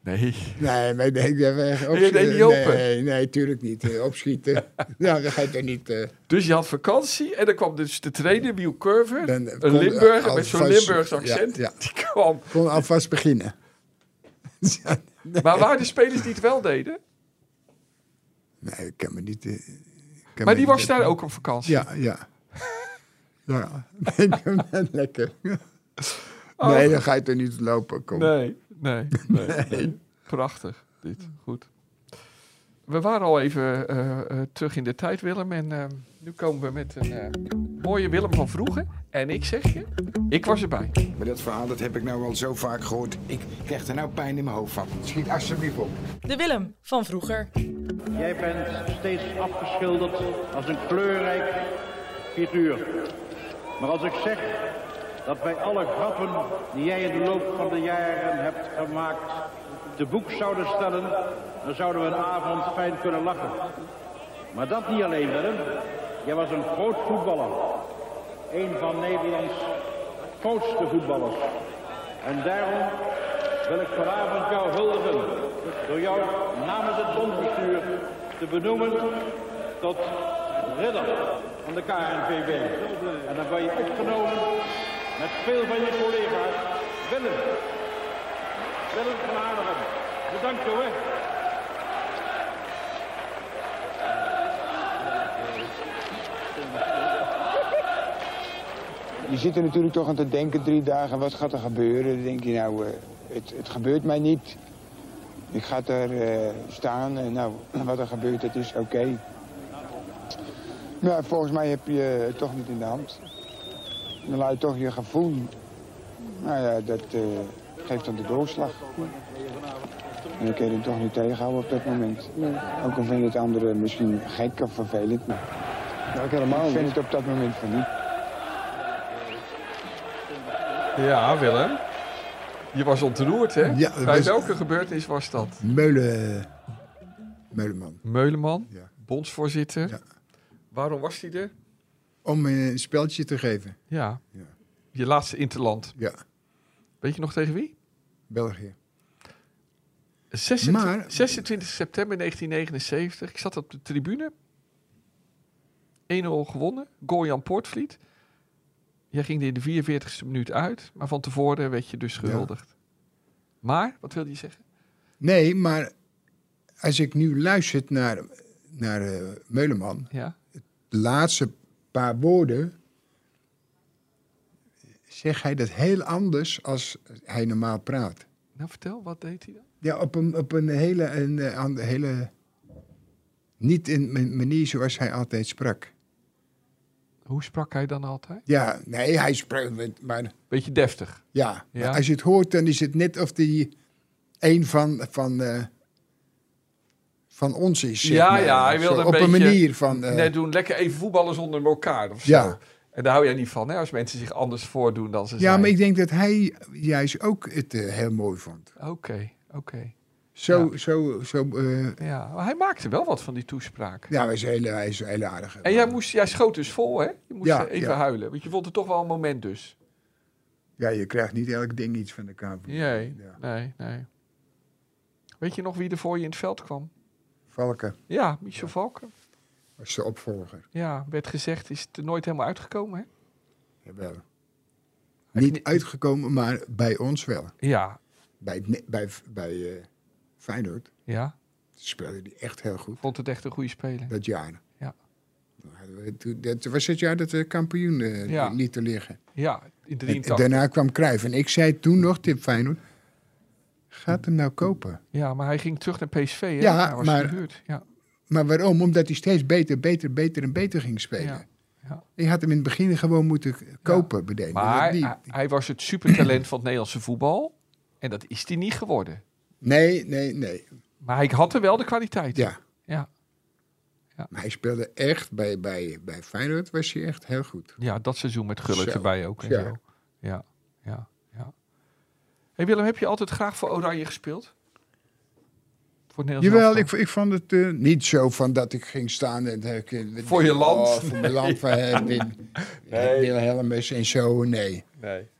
Nee.
Nee, maar ik denk dat we opschieten.
deed niet open?
Nee, nee, tuurlijk niet. Eh, Opschieten. nou, dan ga je toch niet. eh,
Dus je had vakantie en dan kwam dus de trainer, Wiel Curver,
Dan eh,
een
kon
Limburger met
alvast-
zo'n Limburgs
ja,
accent.
ja.
Die kwam.
kon alvast beginnen.
Maar waren de spelers die het wel deden?
Nee, ik kan me niet. eh, ik kan me
maar die
niet-
was daar ook op vakantie?
Ja, ja. ja, ik vind het lekker.
Oh.
Nee, dan ga je toch niet lopen. Kom.
Nee, nee, nee. nee. Prachtig, dit. Goed. We waren al even eh, eh, terug in de tijd, Willem. En eh, nu komen we met een eh, mooie Willem van vroeger. En ik zeg je, ik was erbij.
Maar dat verhaal dat heb ik nou al zo vaak gehoord. Ik krijg er nou pijn in mijn hoofd van. Schiet alsjeblieft op.
De Willem van vroeger.
Jij bent steeds afgeschilderd als een kleurrijk figuur. Maar als ik zeg dat bij alle grappen die jij in de loop van de jaren hebt gemaakt te boek zouden stellen, dan zouden we een avond fijn kunnen lachen. Maar dat niet alleen, Willem. Jij was een groot voetballer. Een van Nederlands grootste voetballers. En daarom wil ik vanavond jou huldigen door jou namens het bondsbestuur te benoemen tot ridder van de KNVB. En dan ben je opgenomen met veel van je collega's. Willem, Willem van Aarderen, bedankt jongen.
Je zit er natuurlijk toch aan te denken drie dagen. Wat gaat er gebeuren? Dan denk je nou, eh, het, het gebeurt mij niet. Ik ga daar eh, staan en nou, wat er gebeurt, dat is oké. Maar volgens mij heb je het toch niet in de hand. Dan laat je toch je gevoel. Nou ja, dat eh, geeft dan de doorslag. En dan kun je het toch niet tegenhouden op dat moment. Ook al vinden het anderen misschien gek of vervelend, maar ik vind het op dat moment van niet.
Ja, Willem. Je was ontroerd, hè?
Ja, dat
Bij
was-
welke gebeurtenis was dat?
Meulen. eh, Meuleman.
Meuleman,
Ja.
bondsvoorzitter.
Ja.
Waarom was hij er?
Om eh, een speltje te geven.
Ja.
Ja.
Je laatste interland.
Ja,
Weet je nog tegen wie?
België.
26,
Maar-
26 september 1979. Ik zat op de tribune. 1-0 gewonnen. Goal-Jan Poortvliet. Jij ging er in de 44ste minuut uit. Maar van tevoren werd je dus gehuldigd. Maar, wat wilde je zeggen?
Nee, maar als ik nu luister naar, naar eh, Meuleman,
Ja.
de laatste paar woorden zegt hij dat heel anders als hij normaal praat.
Nou, vertel, wat deed hij dan?
Ja, op een, op een hele, een, eh, an- hele... Niet in mijn manier zoals hij altijd sprak.
Hoe sprak hij dan altijd?
Ja, nee, hij sprak... met- Maar,
Beetje deftig.
ja,
Ja.
Maar als je het hoort, dan is het net of hij een van, van, eh, van ons is. zeg
Ja,
maar.
ja, hij wilde
Zo,
een
Op een
beetje
manier van... eh,
Net doen, lekker even voetballen zonder elkaar of zo.
Ja.
En daar hou jij niet van, hè? Als mensen zich anders voordoen dan ze
ja,
zijn.
maar ik denk dat hij juist ook het eh, heel mooi vond.
Oké, oké.
Zo, zo, zo... eh,
Ja, maar hij maakte wel wat van die toespraak.
ja, hij is een hele, hij is een hele aardige.
En jij, moest, jij schoot dus vol, hè? Je moest
Ja,
even
ja.
huilen. Want je vond het toch wel een moment dus.
Ja, je krijgt niet elk ding iets van de KNVB.
Nee,
Ja.
nee, nee. Weet je nog wie er voor je in het veld kwam?
Valken
Ja, Michel Valken.
was de opvolger.
Ja, werd gezegd, is het er nooit helemaal uitgekomen, hè?
Jawel.
Hij
Niet
kni-
uitgekomen, maar bij ons wel.
Ja,
Bij, ne- bij, bij eh, Feyenoord
ja.
speelde hij echt heel goed.
Vond het echt een goede speler.
Dat jaar.
Ja.
Toen hadden we- toen- Dat was het jaar dat we kampioen eh,
Ja.
lieten liggen.
Ja, in
En
83.
daarna kwam Cruijff. En ik zei toen nog, Tip Feyenoord, gaat hem nou kopen.
Ja, maar hij ging terug naar PSV, hè?
Ja,
Hij was
maar-
gehuurd. Ja,
Maar waarom? Omdat hij steeds beter, beter, beter en beter ging spelen.
ja.
Je had hem in het begin gewoon moeten k- kopen, bedenken.
Maar
Dat niet.
hij, hij was het supertalent van het Nederlandse voetbal. En dat is hij niet geworden.
Nee, nee, nee.
Maar hij had er wel de kwaliteit.
Ja.
Ja.
Maar hij speelde echt, bij, bij, bij Feyenoord was hij echt heel goed.
Ja, dat seizoen met Gullit
Zo,
erbij ook. En
ja.
Zo. ja, ja, ja. Hey Willem, heb je altijd graag voor Oranje gespeeld? Voor het Nederlands
Jawel, ik,
elftal?
ik vond het eh, niet zo van dat ik ging staan. En, dat ik, eh,
Voor je
oh,
land?
voor mijn land, van eh, Wim- eh, Wilhelmus en zo. Nee,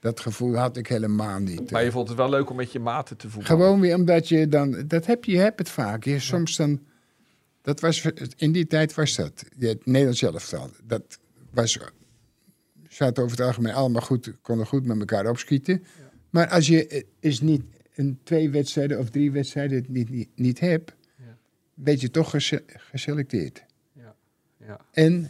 dat gevoel had ik helemaal niet.
Maar je vond het wel leuk om met je maten te voelen.
Gewoon weer omdat je dan... Dat heb je, je hebt het vaak. Je, soms dan... Dat was, in die tijd was dat. Je- Het Nederlands elftal. Dat was... Zaten over het algemeen allemaal goed. Konden goed met elkaar opschieten. Maar als je eh, is niet een twee wedstrijden of drie wedstrijden het niet, niet, niet hebt...
Ja.
weet je toch gese- geselecteerd.
Ja.
En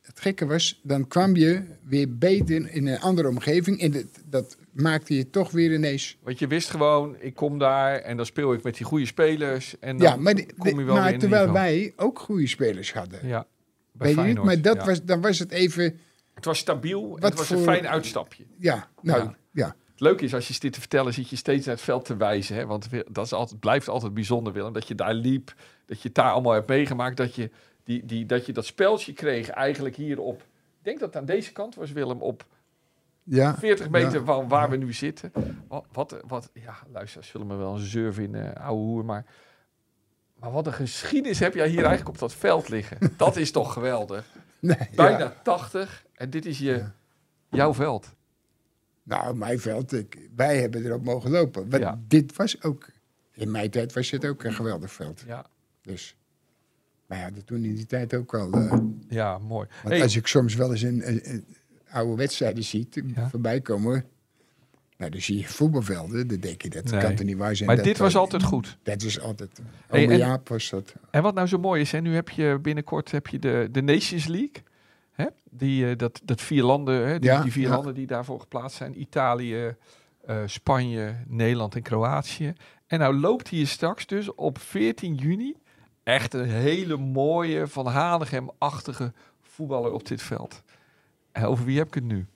het gekke was, dan kwam je weer beter in een andere omgeving. En dat, dat maakte je toch weer ineens...
Want je wist gewoon, ik kom daar en dan speel ik met die goede spelers. En dan
Ja, maar, die-
kom je
die-
wel weer
maar
in
terwijl
niveau.
wij ook goede spelers hadden.
Ja, bij
Weet je niet?
Feyenoord,
Maar dat
ja.
was, dan was het even...
Het was stabiel en
Wat
het was een
voor-
fijn uitstapje.
Ja, nou,
Ja.
ja.
Het leuke is, als je dit te vertellen, zit je steeds naar het veld te wijzen. Hè? Want Wil- dat is altijd, blijft altijd bijzonder, Willem. Dat je daar liep, dat je het daar allemaal hebt meegemaakt. Dat je, die, die, dat je dat speltje kreeg eigenlijk hier op... Ik denk dat het aan deze kant was, Willem, op
ja.
40 meter
Ja.
van waar we nu zitten. Wat, wat, wat ja, luister, zullen me wel een surf in, eh ouwe hoer. Maar, maar wat een geschiedenis heb jij hier eigenlijk op dat veld liggen. Dat is toch geweldig.
Nee,
Bijna
ja.
80 en dit is je, jouw veld.
Nou, mijn veld, ik, wij hebben erop mogen lopen. Want
Ja.
dit was ook... In mijn tijd was het ook een geweldig veld.
Ja,
Dus. Maar ja, dat toen in die tijd ook al... eh, want
ja mooi. Hey,
als ik soms wel eens een, een- een oude wedstrijden ziet
Ja.
voorbij komen... Nou, dan zie je voetbalvelden. Dan denk je, dat
Nee.
kan er niet waar zijn.
maar
dat
dit was
dan-
altijd goed.
Dat is altijd...
Hey,
Ome
en-
Jaap was dat.
En wat nou zo mooi is, hè, nu heb je binnenkort heb je de, de Nations League. Hè? Die, eh, dat, dat vier landen, hè, die,
Ja,
die vier
ja.
landen die daarvoor geplaatst zijn. Italië, eh, Spanje, Nederland en Kroatië. En nou loopt hier straks dus op 14 juni echt een hele mooie Van Hanegem-achtige voetballer op dit veld. En over wie heb ik het nu?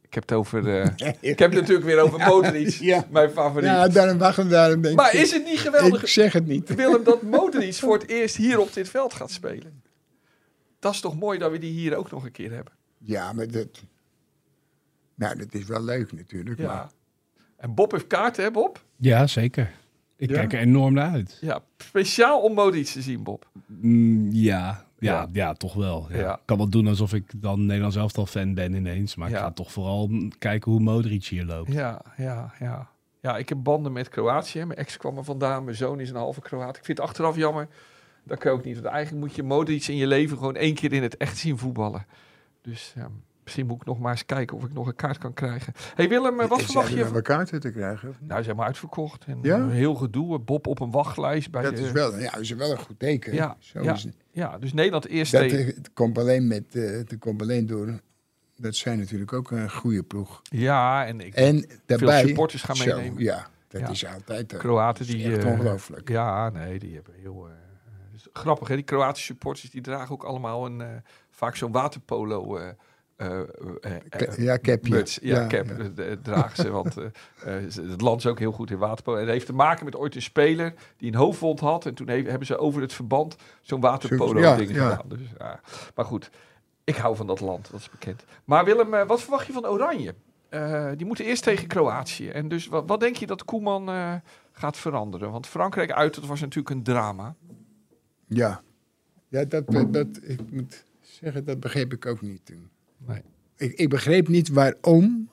Ik heb het over... eh, ik heb het natuurlijk weer over Modric,
Ja.
mijn favoriet.
Ja, daarom wachten, daarom denk
maar
ik-
is het niet geweldig?
Ik zeg het niet.
Willem dat Modric voor het eerst hier op dit veld gaat spelen. Dat is toch mooi dat we die hier ook nog een keer hebben.
Ja, maar dat... Nou, dat is wel leuk natuurlijk.
Ja.
Maar
En Bob heeft kaarten, hè Bob?
Ja, zeker. Ik
Ja?
kijk er enorm naar uit.
Ja, speciaal om Modric te zien, Bob.
Mm, ja, Ja,
Ja.
ja. toch wel. Ja.
Ja.
Ik kan wel doen alsof ik dan Nederlands elftal fan ben ineens. Maar
Ja.
ik ga toch vooral kijken hoe Modric hier loopt.
Ja, ja, ja. Ja, ik heb banden met Kroatië. Mijn ex kwam er vandaan. Mijn zoon is een halve Kroaat. Ik vind het achteraf jammer. Dat kan ook niet. Want eigenlijk moet je Modric in je leven gewoon één keer in het echt zien voetballen. Dus ja, misschien moet ik nog maar eens kijken of ik nog een kaart kan krijgen. hey Willem, eh, wat
Is
verwacht
er
je?
nog wel kaarten te krijgen? of niet?
Nou, ze hebben uitverkocht. En
Ja?
eh, heel gedoe. Bob op een wachtlijst. Bij
Dat
de-
is wel, ja, is wel een goed teken.
Ja,
Zo
ja.
is het.
Ja, dus Nederland eerst
Dat,
tegen...
eh, het komt alleen met, eh, het komt alleen door. Dat zijn natuurlijk ook een goede ploeg.
Ja, en ik...
En daarbij.
supporters gaan
zo,
meenemen.
Ja, dat
Ja.
is altijd. ook.
Kroaten
Dat is
die...
echt
eh,
ongelooflijk.
Ja, nee, die hebben heel... eh, eh, is grappig, hè? Die Kroatische supporters die dragen ook allemaal een, eh, vaak zo'n waterpolo... eh eh, eh, eh,
Ke- ja, capje.
muts. Ja, cap
ja.
eh, eh, dragen ze. Want eh, eh, ze- het land is ook heel goed in waterpolo. En dat heeft te maken met ooit een speler die een hoofdwond had. En toen he- hebben ze over het verband zo'n
Ja,
waterpolo-ding
ja.
gedaan. Dus, ja. Maar goed, ik hou van dat land, dat is bekend. Maar Willem, eh, wat verwacht je van Oranje? Eh, die moeten eerst tegen Kroatië. En dus wat, wat denk je dat Koeman eh, gaat veranderen? Want Frankrijk uit, dat was natuurlijk een drama.
Ja, ja dat, dat, dat- ik moet zeggen, dat begreep ik ook niet toen.
Nee.
Ik, ik begreep niet waarom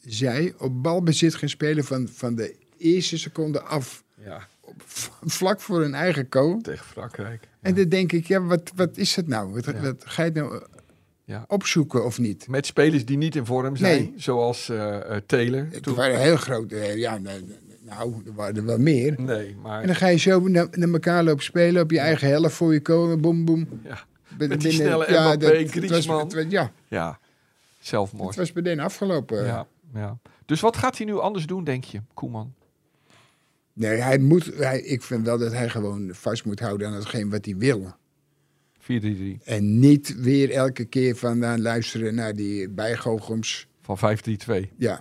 zij op balbezit gaan spelen van, van de eerste seconde af.
Ja,
v- Vlak voor hun eigen goal.
tegen Frankrijk.
En dan denk ik, ja, wat, wat is het nou? Wat,
Ja.
wat ga je het nou eh,
Ja.
opzoeken of niet?
Met spelers die niet in vorm zijn,
Nee.
zoals eh eh, Taylor.
Het
Toen-
waren heel grote, eh, ja, nou, nou, er waren er wel meer.
Nee, maar...
En dan ga je zo naar, naar elkaar lopen spelen op je eigen helft voor je kolen, boem, boem.
Ja.
Binnen-
Met die
binnen-
snelle
ja,
Mbappé,
dat- het was,
Griezmann.
het was- ja,
Ja,
het
zelfmoord.
was meteen afgelopen.
Ja, ja. Dus wat gaat hij nu anders doen, denk je, Koeman?
Nee, hij moet, hij, ik vind wel dat hij gewoon vast moet houden aan hetgeen wat hij wil.
4-3-3.
En niet weer elke keer vandaan luisteren naar die bijgoochelms.
Van 5-3-2.
Ja,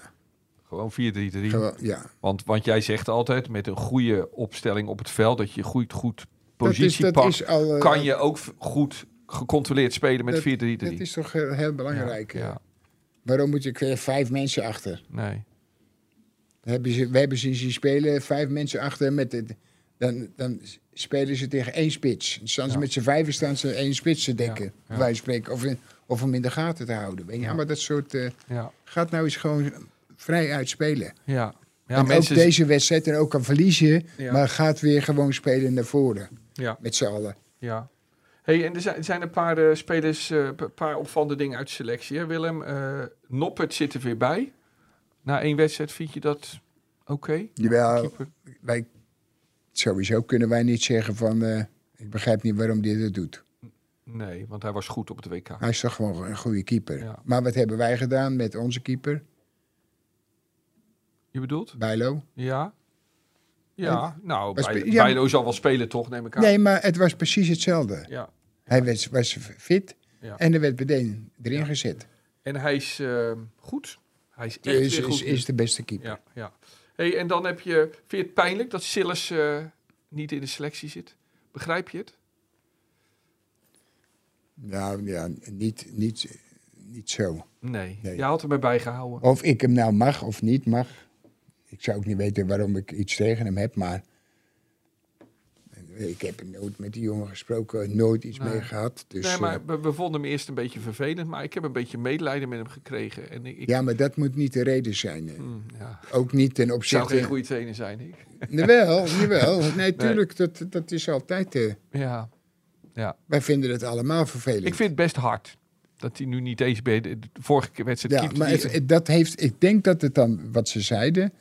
Gewoon 4-3-3.
gewoon, ja.
Want, want jij zegt altijd, met een goede opstelling op het veld, dat je goed, goed
Dat is,
positie
dat
pakt,
is al, eh,
kan je ook v- goed gecontroleerd spelen met 4-3-3.
Dat is toch heel, heel belangrijk.
Ja, ja,
Waarom moet je ik weer vijf mensen achter?
nee.
Hebben ze, we hebben ze zien spelen, vijf mensen achter. Met het, dan, dan spelen ze tegen één spits. Dan staan ze
Ja.
met z'n vijven staan ze één spits te dekken.
ja.
Wij spreken, of, in- of hem in de gaten te houden. Weet je?
Ja.
Maar dat soort... eh,
Ja,
gaat nou eens gewoon vrij uitspelen.
ja. ja
en
mensen...
ook deze wedstrijd en ook kan verliezen,
Ja.
maar gaat weer gewoon spelen naar voren.
Ja.
Met z'n allen.
Ja. Hey, en er zijn, er zijn een paar eh, spelers, eh, een paar opvallende dingen uit de selectie. Hè? Willem, eh Noppert zit er weer bij. Na één wedstrijd vind je dat oké?
Jawel,
Keeper.
wij, sowieso kunnen wij niet zeggen van, eh, ik begrijp niet waarom dit het doet.
Nee, want hij was goed op het WK.
Hij is toch gewoon een goede keeper.
Ja.
Maar wat hebben wij gedaan met onze keeper,
Je bedoelt?
Bijlo?
Ja. Ja, nou,
was
bij,
spe- ja.
Bijlo zal wel spelen toch, neem ik aan.
Nee, maar het was precies hetzelfde.
Ja.
Hij was, was fit
Ja.
en er werd meteen erin gezet. Dus
En hij is eh, goed. Hij is echt
Is,
weer goed.
is, is de beste keeper.
Ja, ja. Hey, en dan heb je, vind je het pijnlijk dat Sillis eh, niet in de selectie zit? Begrijp je het?
Nou ja, niet, niet, niet zo.
Nee.
Nee.
Je had hem erbij gehouden.
Of ik hem nou mag of niet mag. Ik zou ook niet weten waarom ik iets tegen hem heb, maar. Ik heb nooit met die jongen gesproken, nooit iets
Nee.
mee gehad. Dus,
nee,
eh,
maar we, we vonden hem eerst een beetje vervelend, maar ik heb een beetje medelijden met hem gekregen. En ik, ik,
ja, maar dat moet niet de reden zijn. eh.
Mm, ja.
Ook niet ten
Ik zou geen
opzichte.
goede trainer zijn, ik.
Jawel, jawel. Nee, tuurlijk, dat, dat is altijd. eh,
Ja. ja.
wij vinden het allemaal vervelend.
Ik vind het best hard dat hij nu niet eens bij de, de vorige keer wedstrijd
ja,
keepte
maar
die-
het- het- dat heeft, ik denk dat het dan, wat ze zeiden,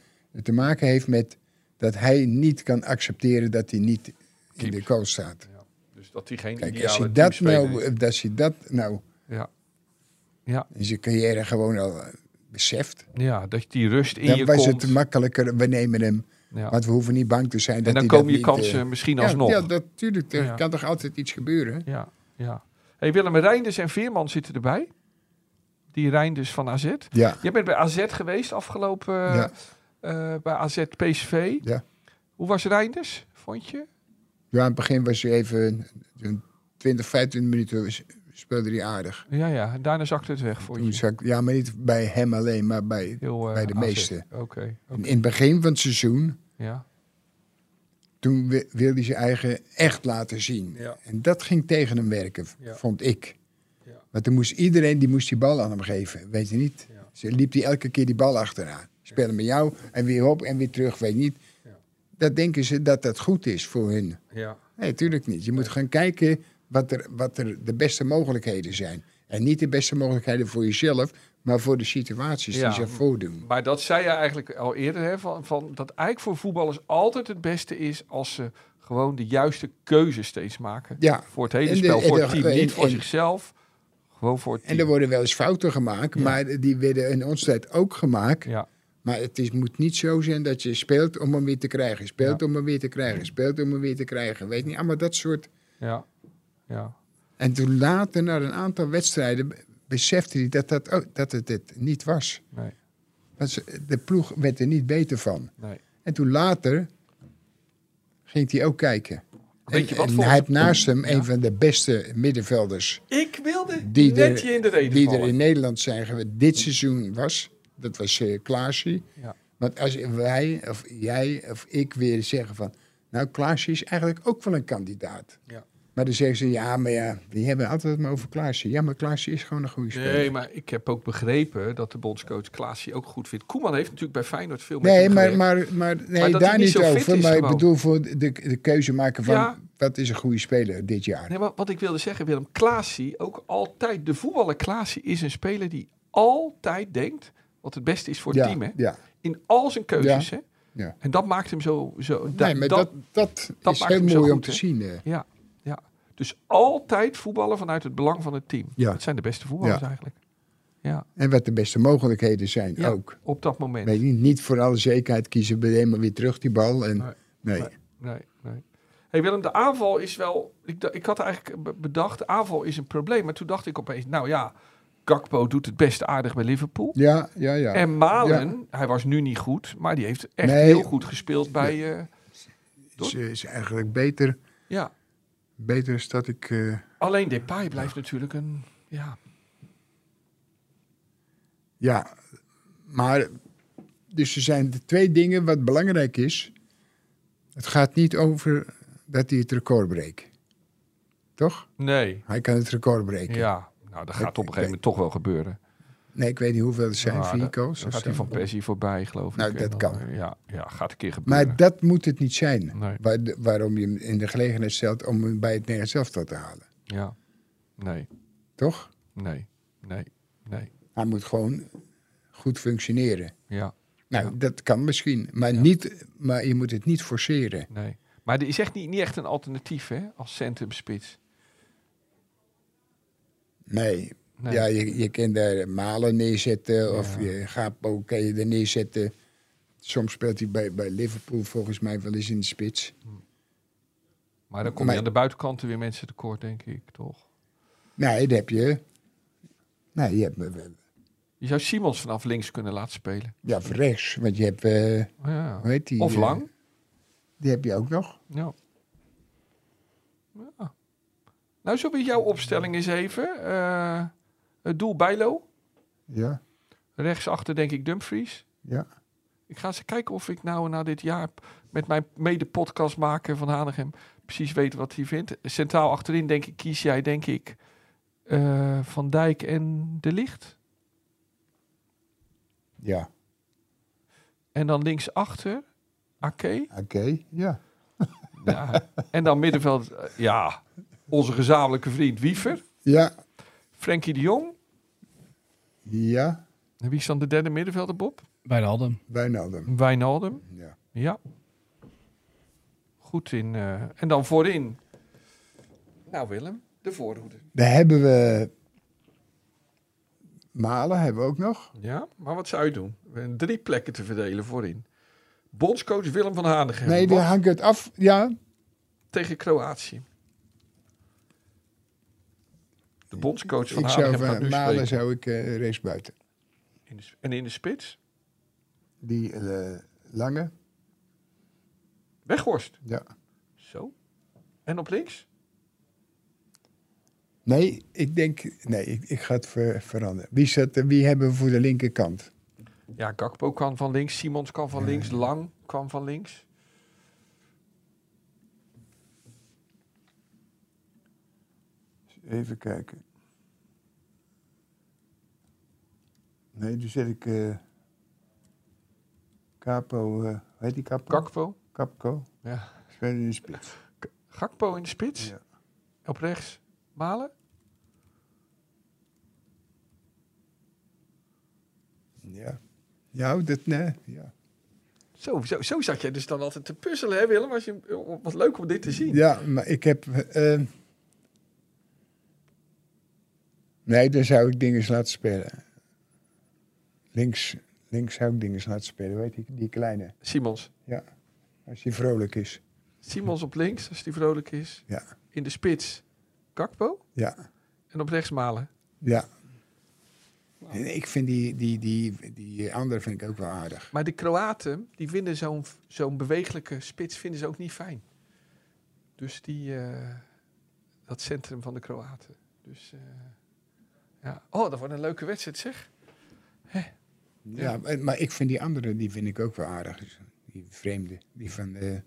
te maken heeft met dat hij niet kan accepteren dat hij niet in
Keept.
de kool staat.
dus dat hij geen
Kijk, als
ideale
je, dat
teamspeler is.
nou, als je dat nou
Ja. Ja,
in zijn carrière gewoon al eh, beseft,
ja, dat je die rust in je
dan was
komt.
het makkelijker. We nemen hem,
ja.
want we hoeven niet bang te zijn.
En
dat
dan
hij dat
komen je
niet,
kansen
eh,
misschien
ja,
alsnog.
Ja,
Ja,
natuurlijk. Er
Ja.
kan toch altijd iets gebeuren?
ja, Hey, Willem Reinders en Veerman zitten erbij. Die Reinders van AZ.
Ja.
Jij bent bij AZ geweest afgelopen eh,
Ja.
eh, bij AZ PSV.
Ja.
Hoe was Reinders, vond je?
ja, aan het begin was hij even zo'n 20, 25 minuten s- speelde hij aardig.
Ja, ja. En daarna zakte het weg voor
Toen
je.
zag ik- ja, maar niet bij hem alleen, maar bij,
Heel, eh,
bij de
AZ.
meeste.
Oké. oké.
In het begin van het seizoen
Ja.
Toen wi- wilde hij zijn eigen echt laten zien.
Ja.
En dat ging tegen hem werken, v-
Ja.
vond ik.
Ja.
Want toen moest iedereen die, moest die bal aan hem geven, weet je niet.
Ja.
Ze liep hij elke keer die bal achteraan. Spelen met jou en weer op en weer terug, weet je niet.
Ja.
Dat denken ze dat dat goed is voor hun.
Ja.
Nee, tuurlijk niet. Je moet gaan kijken wat er, wat er de beste mogelijkheden zijn. En niet de beste mogelijkheden voor jezelf, maar voor de situaties
Ja.
die zich voordoen.
Maar dat zei je eigenlijk al eerder, hè, van, van dat eigenlijk voor voetballers altijd het beste is als ze gewoon de juiste keuze steeds maken.
Ja.
Voor het hele
En de-
spel,
en
voor
de-
het team,
en-
niet voor
en-
zichzelf. Gewoon voor het
En
team.
er worden wel eens fouten gemaakt, maar die werden in onze tijd ook gemaakt.
ja.
Maar het is, moet niet zo zijn dat je speelt om hem weer te krijgen. Speelt om hem weer te krijgen. Speelt om hem weer te krijgen. Weet niet, allemaal dat soort.
Ja, ja,
En toen later, na een aantal wedstrijden, be- besefte hij dat, dat, ook, dat het het niet was.
nee,
Want ze- de ploeg werd er niet beter van.
nee.
En toen later ging hij ook kijken.
Weet je
En- en
wat, volgens-
hij heeft naast hem een van de beste middenvelders
Ik wilde
die,
net
er,
je in de reden
die er
vallen.
in Nederland zijn geweest. Dit seizoen was, dat was eh Klaasie.
Ja.
Want als wij, of jij, of ik weer zeggen van... Nou, Klaasie is eigenlijk ook wel een kandidaat.
Ja.
Maar dan zeggen ze, ja, maar ja, die hebben altijd maar over Klaasie. Ja, maar Klaasie is gewoon een goede speler.
Nee, maar ik heb ook begrepen dat de bondscoach Klaasie ook goed vindt. Koeman heeft natuurlijk bij Feyenoord veel meer
Nee, maar, maar, maar, nee,
Maar dat hij
daar
niet
niet
zo fit
over.
is
Maar ik
gewoon.
bedoel voor de, de keuze maken van...
Ja.
wat is een goede speler dit jaar?
Nee, maar wat ik wilde zeggen, Willem, Klaasie, ook altijd, de voetballer Klaasie is een speler die altijd denkt wat het beste is voor het
ja,
team. Hè?
ja.
In al zijn keuzes. Hè?
Ja.
En dat maakt hem zo... zo da-
nee, maar
dat-
dat, dat,
dat
is
maakt
heel
hem zo
mooi om
goed,
te
hè?
zien. eh.
Ja, ja. Dus altijd voetballen vanuit het belang van het team.
Ja.
Dat zijn de beste voetballers
Ja.
eigenlijk. Ja,
En wat de beste mogelijkheden zijn
Ja.
ook.
op dat moment.
Weet je, niet voor alle zekerheid kiezen, ben helemaal weer terug die bal. En,
Nee.
nee.
Nee, nee. Hey Willem, de aanval is wel. Ik, da- ik had eigenlijk be- bedacht, de aanval is een probleem. Maar toen dacht ik opeens, nou ja, Gakpo doet het best aardig bij Liverpool.
Ja, ja, ja.
En Malen, hij was nu niet goed, maar die heeft echt
Nee.
heel goed gespeeld bij. eh,
is, eh, is eigenlijk beter,
ja,
beter is dat ik... eh,
alleen Depay blijft natuurlijk een. Ja,
ja, maar... Dus er zijn de twee dingen wat belangrijk is. Het gaat niet over dat hij het record breekt. Toch?
nee.
Hij kan het record breken.
Ja, nou dat gaat op een gegeven moment toch wel gebeuren.
Nee, ik weet niet hoeveel er zijn,
Nou,
vier
dat-
goals
Dan
of
gaat hij
zo.
van Persie voorbij, geloof
Nou,
ik.
dat
En
kan.
eh, Ja, ja, gaat een keer gebeuren.
Maar dat moet het niet zijn.
Nee.
Waar de- waarom je hem in de gelegenheid stelt om hem bij het Nederlands elftal te halen.
Ja, nee,
Toch?
nee, nee, nee.
Hij moet gewoon goed functioneren.
Ja.
Nou, dat kan misschien, maar, niet, maar je moet het niet forceren.
Nee. Maar er is echt niet, niet echt een alternatief, hè? Als centrumspits.
Nee.
Nee.
Ja, je, je kan daar Malen neerzetten of je Gapo kan je er neerzetten. Soms speelt hij bij, bij Liverpool volgens mij wel eens in de spits.
Maar dan kom je
Maar-
aan de buitenkanten weer mensen tekort, denk ik, toch?
Nee, dat heb je. Nee, je hebt me wel-
Je zou Simons vanaf links kunnen laten spelen. Oh,
ja, van rechts, want je hebt, eh,
Ja.
hoe heet die?
Of
eh,
lang.
die heb je ook nog.
Ja. ja. Nou, zullen we jouw opstelling eens even. Eh, het doel Bijlo.
Ja,
Rechtsachter denk ik Dumfries.
ja.
Ik ga eens kijken of ik nou na dit jaar p- met mijn mede-podcastmaker van Hanegem precies weet wat hij vindt. Centraal achterin denk ik, kies jij denk ik eh, Van Dijk en De Licht.
Ja,
En dan linksachter Ake.
oké, ja.
Ja. en dan middenveld, eh, ja, onze gezamenlijke vriend Wiever.
Ja,
Frenkie de Jong.
ja,
En wie is dan de derde middenvelder, Bob?
Bij de Haldem.
Wijnaldum.
Wijnaldum.
Ja.
Ja. Goed in. eh, en dan voorin. Nou Willem, de voorhoede.
Daar hebben we Malen hebben we ook nog.
Ja, maar wat zou je doen? Eh, Drie plekken te verdelen voorin. Bondscoach Willem van Hanegem.
nee, die
Wat
hangt het af. Ja,
tegen Kroatië. De bondscoach van
ik zou
Hanegem
van
gaat nu
Malen
spelen.
zou ik eh race buiten.
In de s- en in de spits?
Die eh, lange,
Weghorst.
ja.
Zo. En op links?
Nee, ik denk, nee, ik, ik ga het ver- veranderen. Wie, zat, er- wie hebben we voor de linkerkant?
Ja, Gakpo kan van links. Simons kan van links. Lang kan van links.
Even kijken. Nee, toen zet ik. eh Capo. eh hoe heet die Capo?
Gakpo.
Capco.
Ja.
Spelen in de spits.
Gakpo in de spits.
Ja.
Op rechts Malen.
Ja. Ja, dat nee. Ja.
Zo, zo, zo zat jij dus dan altijd te puzzelen, hè Willem? Als je, wat leuk om dit te zien.
ja, maar ik heb. eh,
Nee, dan zou ik dingen laten spelen. Links, links zou ik dingen laten spelen, weet je, die kleine.
Simons.
Als die vrolijk is.
Simons op links, als die vrolijk is.
Ja.
In de spits Gakpo.
Ja,
En op rechts Malen.
ja. En ik vind die, die, die, die andere vind ik ook wel aardig.
Maar de Kroaten, die vinden zo'n zo'n bewegelijke spits vinden ze ook niet fijn. Dus die, eh, dat centrum van de Kroaten. Dus, eh, ja. Oh, dat wordt een leuke wedstrijd, zeg.
Ja, maar- maar ik vind die andere, die vind ik ook wel aardig. Die vreemde, die van de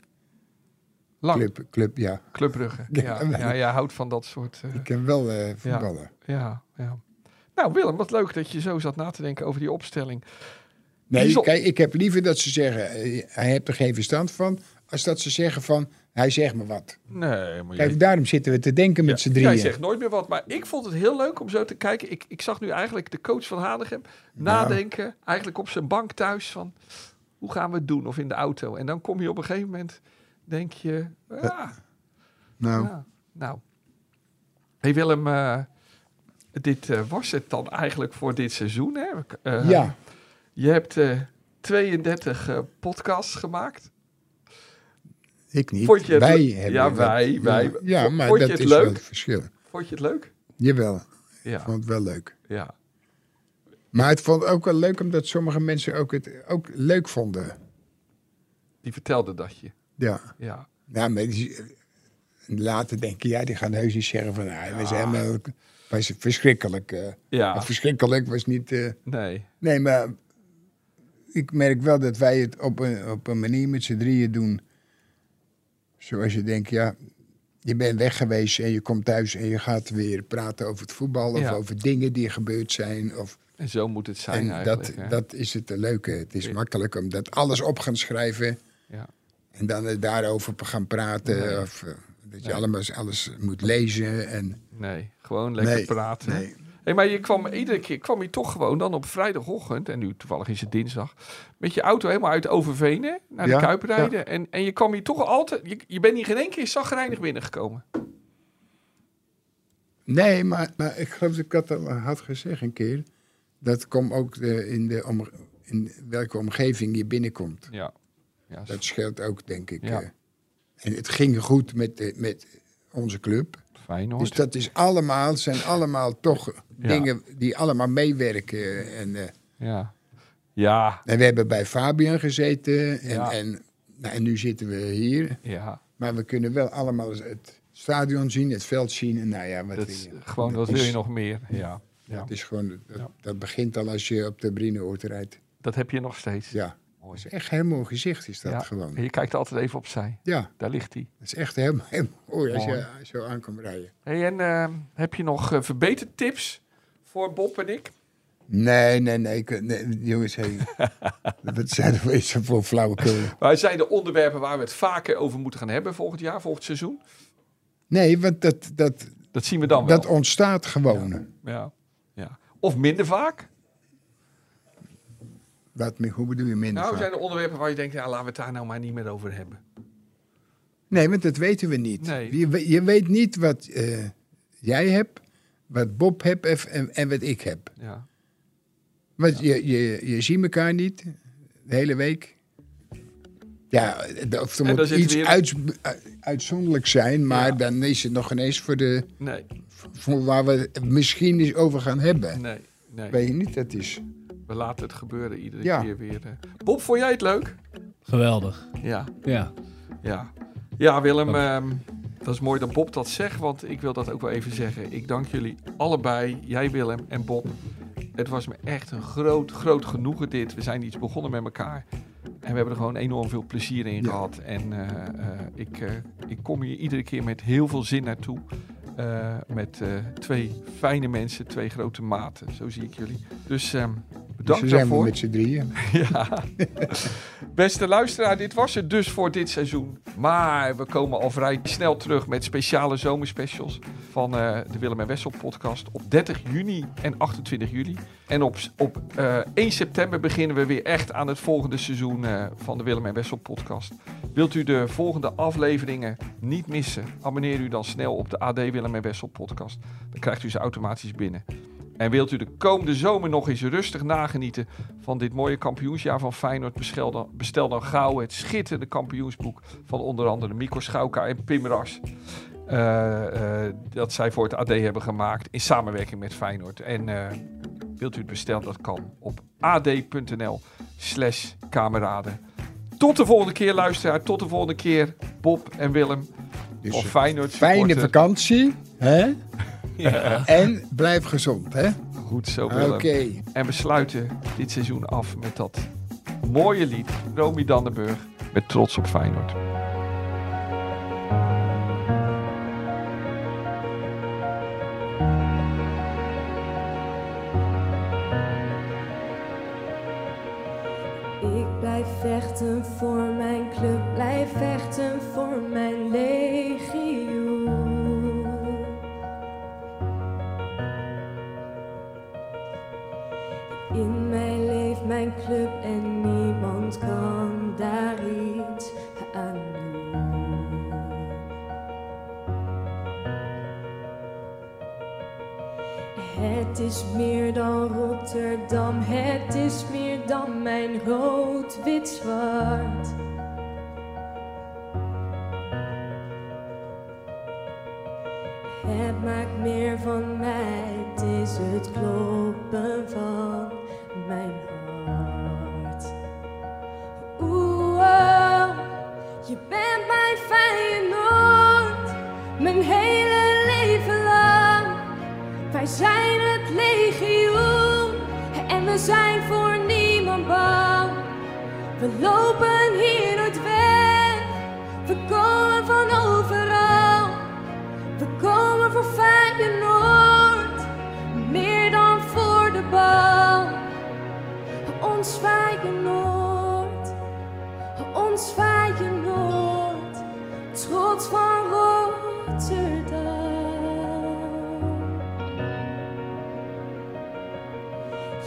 Lang, Club.
club, club, ja.
Clubbrugge.
Ja,
Ja,
maar-
ja, jij houdt van dat soort... eh,
Ik ken wel eh voetballen.
ja, ja. Nou, Willem, wat leuk dat je zo zat na te denken over die opstelling.
Nee,
Kiesel.
kijk, ik heb liever dat ze zeggen, eh, hij heeft er geen verstand van, als dat ze zeggen van, hij zegt me wat.
Nee, maar
Kijk, daarom zitten we te denken met z'n drieën.
Jij zegt nooit meer wat, maar ik vond het heel leuk om zo te kijken. Ik, ik zag nu eigenlijk de coach van Hanegem nadenken, eigenlijk op zijn bank thuis van hoe gaan we het doen of in de auto. En dan kom je op een gegeven moment, denk je, ah,
Eh, nou,
ja, nou. Hey Willem, eh, dit eh, was het dan eigenlijk voor dit seizoen. Hè? Eh,
ja,
Je hebt eh, 32 eh, podcasts gemaakt.
ik niet.
Vond je het
wij
leuk?
hebben
Ja,
wat-
wij,
ja,
wij.
Ja, maar
Vond je
dat
het
is wel
leuk?
het verschil.
Vond je het leuk?
Jawel, ik
Ja,
vond het wel leuk.
ja.
Maar het vond ook wel leuk omdat sommige mensen ook het ook leuk vonden.
die vertelde dat je.
Ja,
Ja.
ja maar die- later denken, ja, die gaan heus niet zeggen van, ah, we zijn helemaal wij zijn verschrikkelijk. eh.
ja,
Verschrikkelijk was niet... eh,
nee.
Nee, maar ik merk wel dat wij het op een, op een manier met z'n drieën doen. Zoals je denkt, ja, je bent weg geweest en je komt thuis en je gaat weer praten over het voetbal of
Ja.
over dingen die gebeurd zijn. Of,
En zo moet het zijn
en dat,
eigenlijk. hè?
dat is het leuke. Het is
Ja.
makkelijk om dat alles op gaan schrijven
Ja.
en dan eh, daarover gaan praten. Of, eh, dat je
Nee.
allemaal alles, alles moet lezen. En,
Nee, gewoon lekker
Nee,
praten.
nee.
Hey, maar je kwam iedere keer kwam je toch gewoon dan op vrijdagochtend, en nu toevallig is het dinsdag, met je auto helemaal uit Overveen hè, naar
Ja,
de Kuip rijden. En, en je kwam hier toch altijd, je, je bent hier geen één keer zagrijnig binnengekomen.
Nee, maar, maar ik geloof dat ik dat al had gezegd een keer. Dat komt ook eh, in, de omge- in welke omgeving je binnenkomt.
Ja. Ja,
Dat scheelt ook, denk ik.
Ja.
eh. en het ging goed met, eh, met onze club.
fijn
Dus dat is allemaal, zijn allemaal toch dingen die allemaal meewerken. En, eh,
Ja. Ja,
en we hebben bij Fabian gezeten. En,
Ja.
en, nou, en nu zitten we hier.
ja.
Maar we kunnen wel allemaal het stadion zien, het veld zien. En nou ja, wat
Dat
wil
is
je?
gewoon,
Dat
wat wil
is-
je nog meer? Ja. ja.
Het is gewoon, dat,
Ja.
dat begint al als je op de Brineoord rijdt.
Dat heb je nog steeds.
Ja,
Mooi.
dat is echt heel mooi gezicht is dat
Ja.
gewoon.
En je kijkt altijd even opzij.
Ja,
Daar ligt hij.
dat is echt heel, heel mooi als
Mooi.
je zo aankomt rijden.
Hey, en eh, heb je nog eh, verbetertips voor Bob en ik?
Nee, nee, nee, ik- nee, jongens, hey, dat zijn er eens voor flauwekul.
Wij zijn de onderwerpen waar we het vaker over moeten gaan hebben volgend jaar, volgend seizoen.
Nee, want dat, dat,
Dat zien we dan wel.
dat ontstaat gewoon.
ja. Ja. Of minder vaak.
Wat, me- hoe bedoel je minder
Nou,
vaak?
zijn er onderwerpen waar je denkt, ja, laten we het daar nou maar niet meer over hebben.
Nee, want dat weten we niet.
Nee.
Je, we- je weet niet wat eh, jij hebt, wat Bob hebt en- en, en wat ik heb.
Ja.
Want je, je, je ziet elkaar niet de hele week. Ja, d- of er
En dan
moet
zit
iets
weer-
uits- u- uitzonderlijk zijn, maar
Ja.
dan is het nog ineens voor, de,
Nee,
voor waar we het misschien eens over gaan hebben.
nee, nee.
Weet je niet, dat is.
We laten het gebeuren iedere
Ja.
keer weer. eh. Bob, vond jij het leuk?
Geweldig.
Ja,
Ja.
ja. Ja, Willem,
Dank.
ehm, dat is mooi dat Bob dat zegt, want ik wil dat ook wel even zeggen. Ik dank jullie allebei, jij Willem en Bob. Het was me echt een groot, groot genoegen dit. We zijn iets begonnen met elkaar. En we hebben er gewoon enorm veel plezier in
Ja.
gehad. En eh, eh, ik, eh, ik kom hier iedere keer met heel veel zin naartoe. eh, met eh, twee fijne mensen, twee grote maten. Zo zie ik jullie. Dus ehm,
Dus
bedankt
we zijn we
daarvoor.
met z'n drieën.
Ja. Beste luisteraar, dit was het dus voor dit seizoen. Maar we komen al vrij snel terug met speciale zomerspecials van eh, de Willem en Wessel podcast op 30 juni en 28 juli. En op, op eh, 1 september beginnen we weer echt aan het volgende seizoen eh, van de Willem en Wessel podcast. Wilt u de volgende afleveringen niet missen? Abonneer u dan snel op de AD Willem en Wessel podcast. Dan krijgt u ze automatisch binnen. En wilt u de komende zomer nog eens rustig nagenieten van dit mooie kampioensjaar van Feyenoord, bestel dan, bestel dan gauw het schitterende kampioensboek van onder andere Mico Schauka en Pim Ras. Eh, eh, dat zij voor het AD hebben gemaakt in samenwerking met Feyenoord. En eh, wilt u het bestellen, dat kan op ad.nl slash kameraden. Tot de volgende keer luisteraar, tot de volgende keer Bob en Willem.
Dus
of
een
Feyenoord
Fijne
supporter.
vakantie. Hè? En blijf gezond, hè?
Goed zo
Ah, Oké.
Willem. En we sluiten dit seizoen af met dat mooie lied. Romy Dandenburg met trots op Feyenoord.
Ik blijf vechten voor mijn club, blijf vechten voor mijn legio. In mij leeft mijn club en niemand kan daar iets aan doen. Het is meer dan Rotterdam, het is meer dan mijn rood, wit, zwart. Het maakt meer van mij, het is het kloppen van mijn hart. Oeh, oh, je bent mijn Feyenoord, mijn hele leven lang. Wij zijn het legioen en we zijn voor niemand bang. We lopen hier nooit weg, we komen van overal. We komen voor Feyenoord, meer dan voor de bal. Ons Feyenoord, ons Feyenoord, trots van Rotterdam.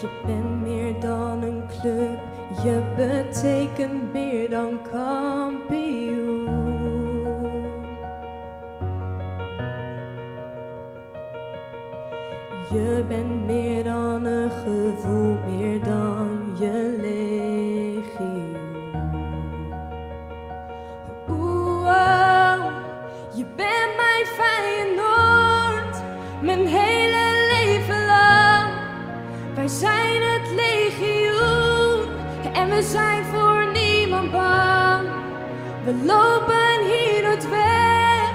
Je bent meer dan een club, je betekent meer dan kampioen. Je bent meer dan een gevoel, meer dan je legioen. Oeh, oh, je bent mijn Feyenoord, mijn hele leven lang. Wij zijn het legioen en we zijn voor niemand bang. We lopen hier nooit weg,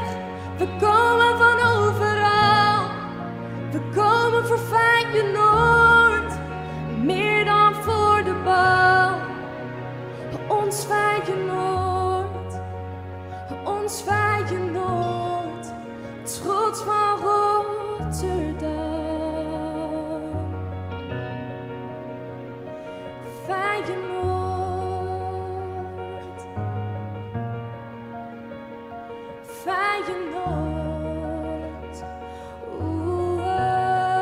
we komen van overal. We komen voor Feyenoord, meer dan voor de bal. Ons Feyenoord, ons Feyenoord, trots van Rotterdam. Feyenoord. Feyenoord. Oeh, oh.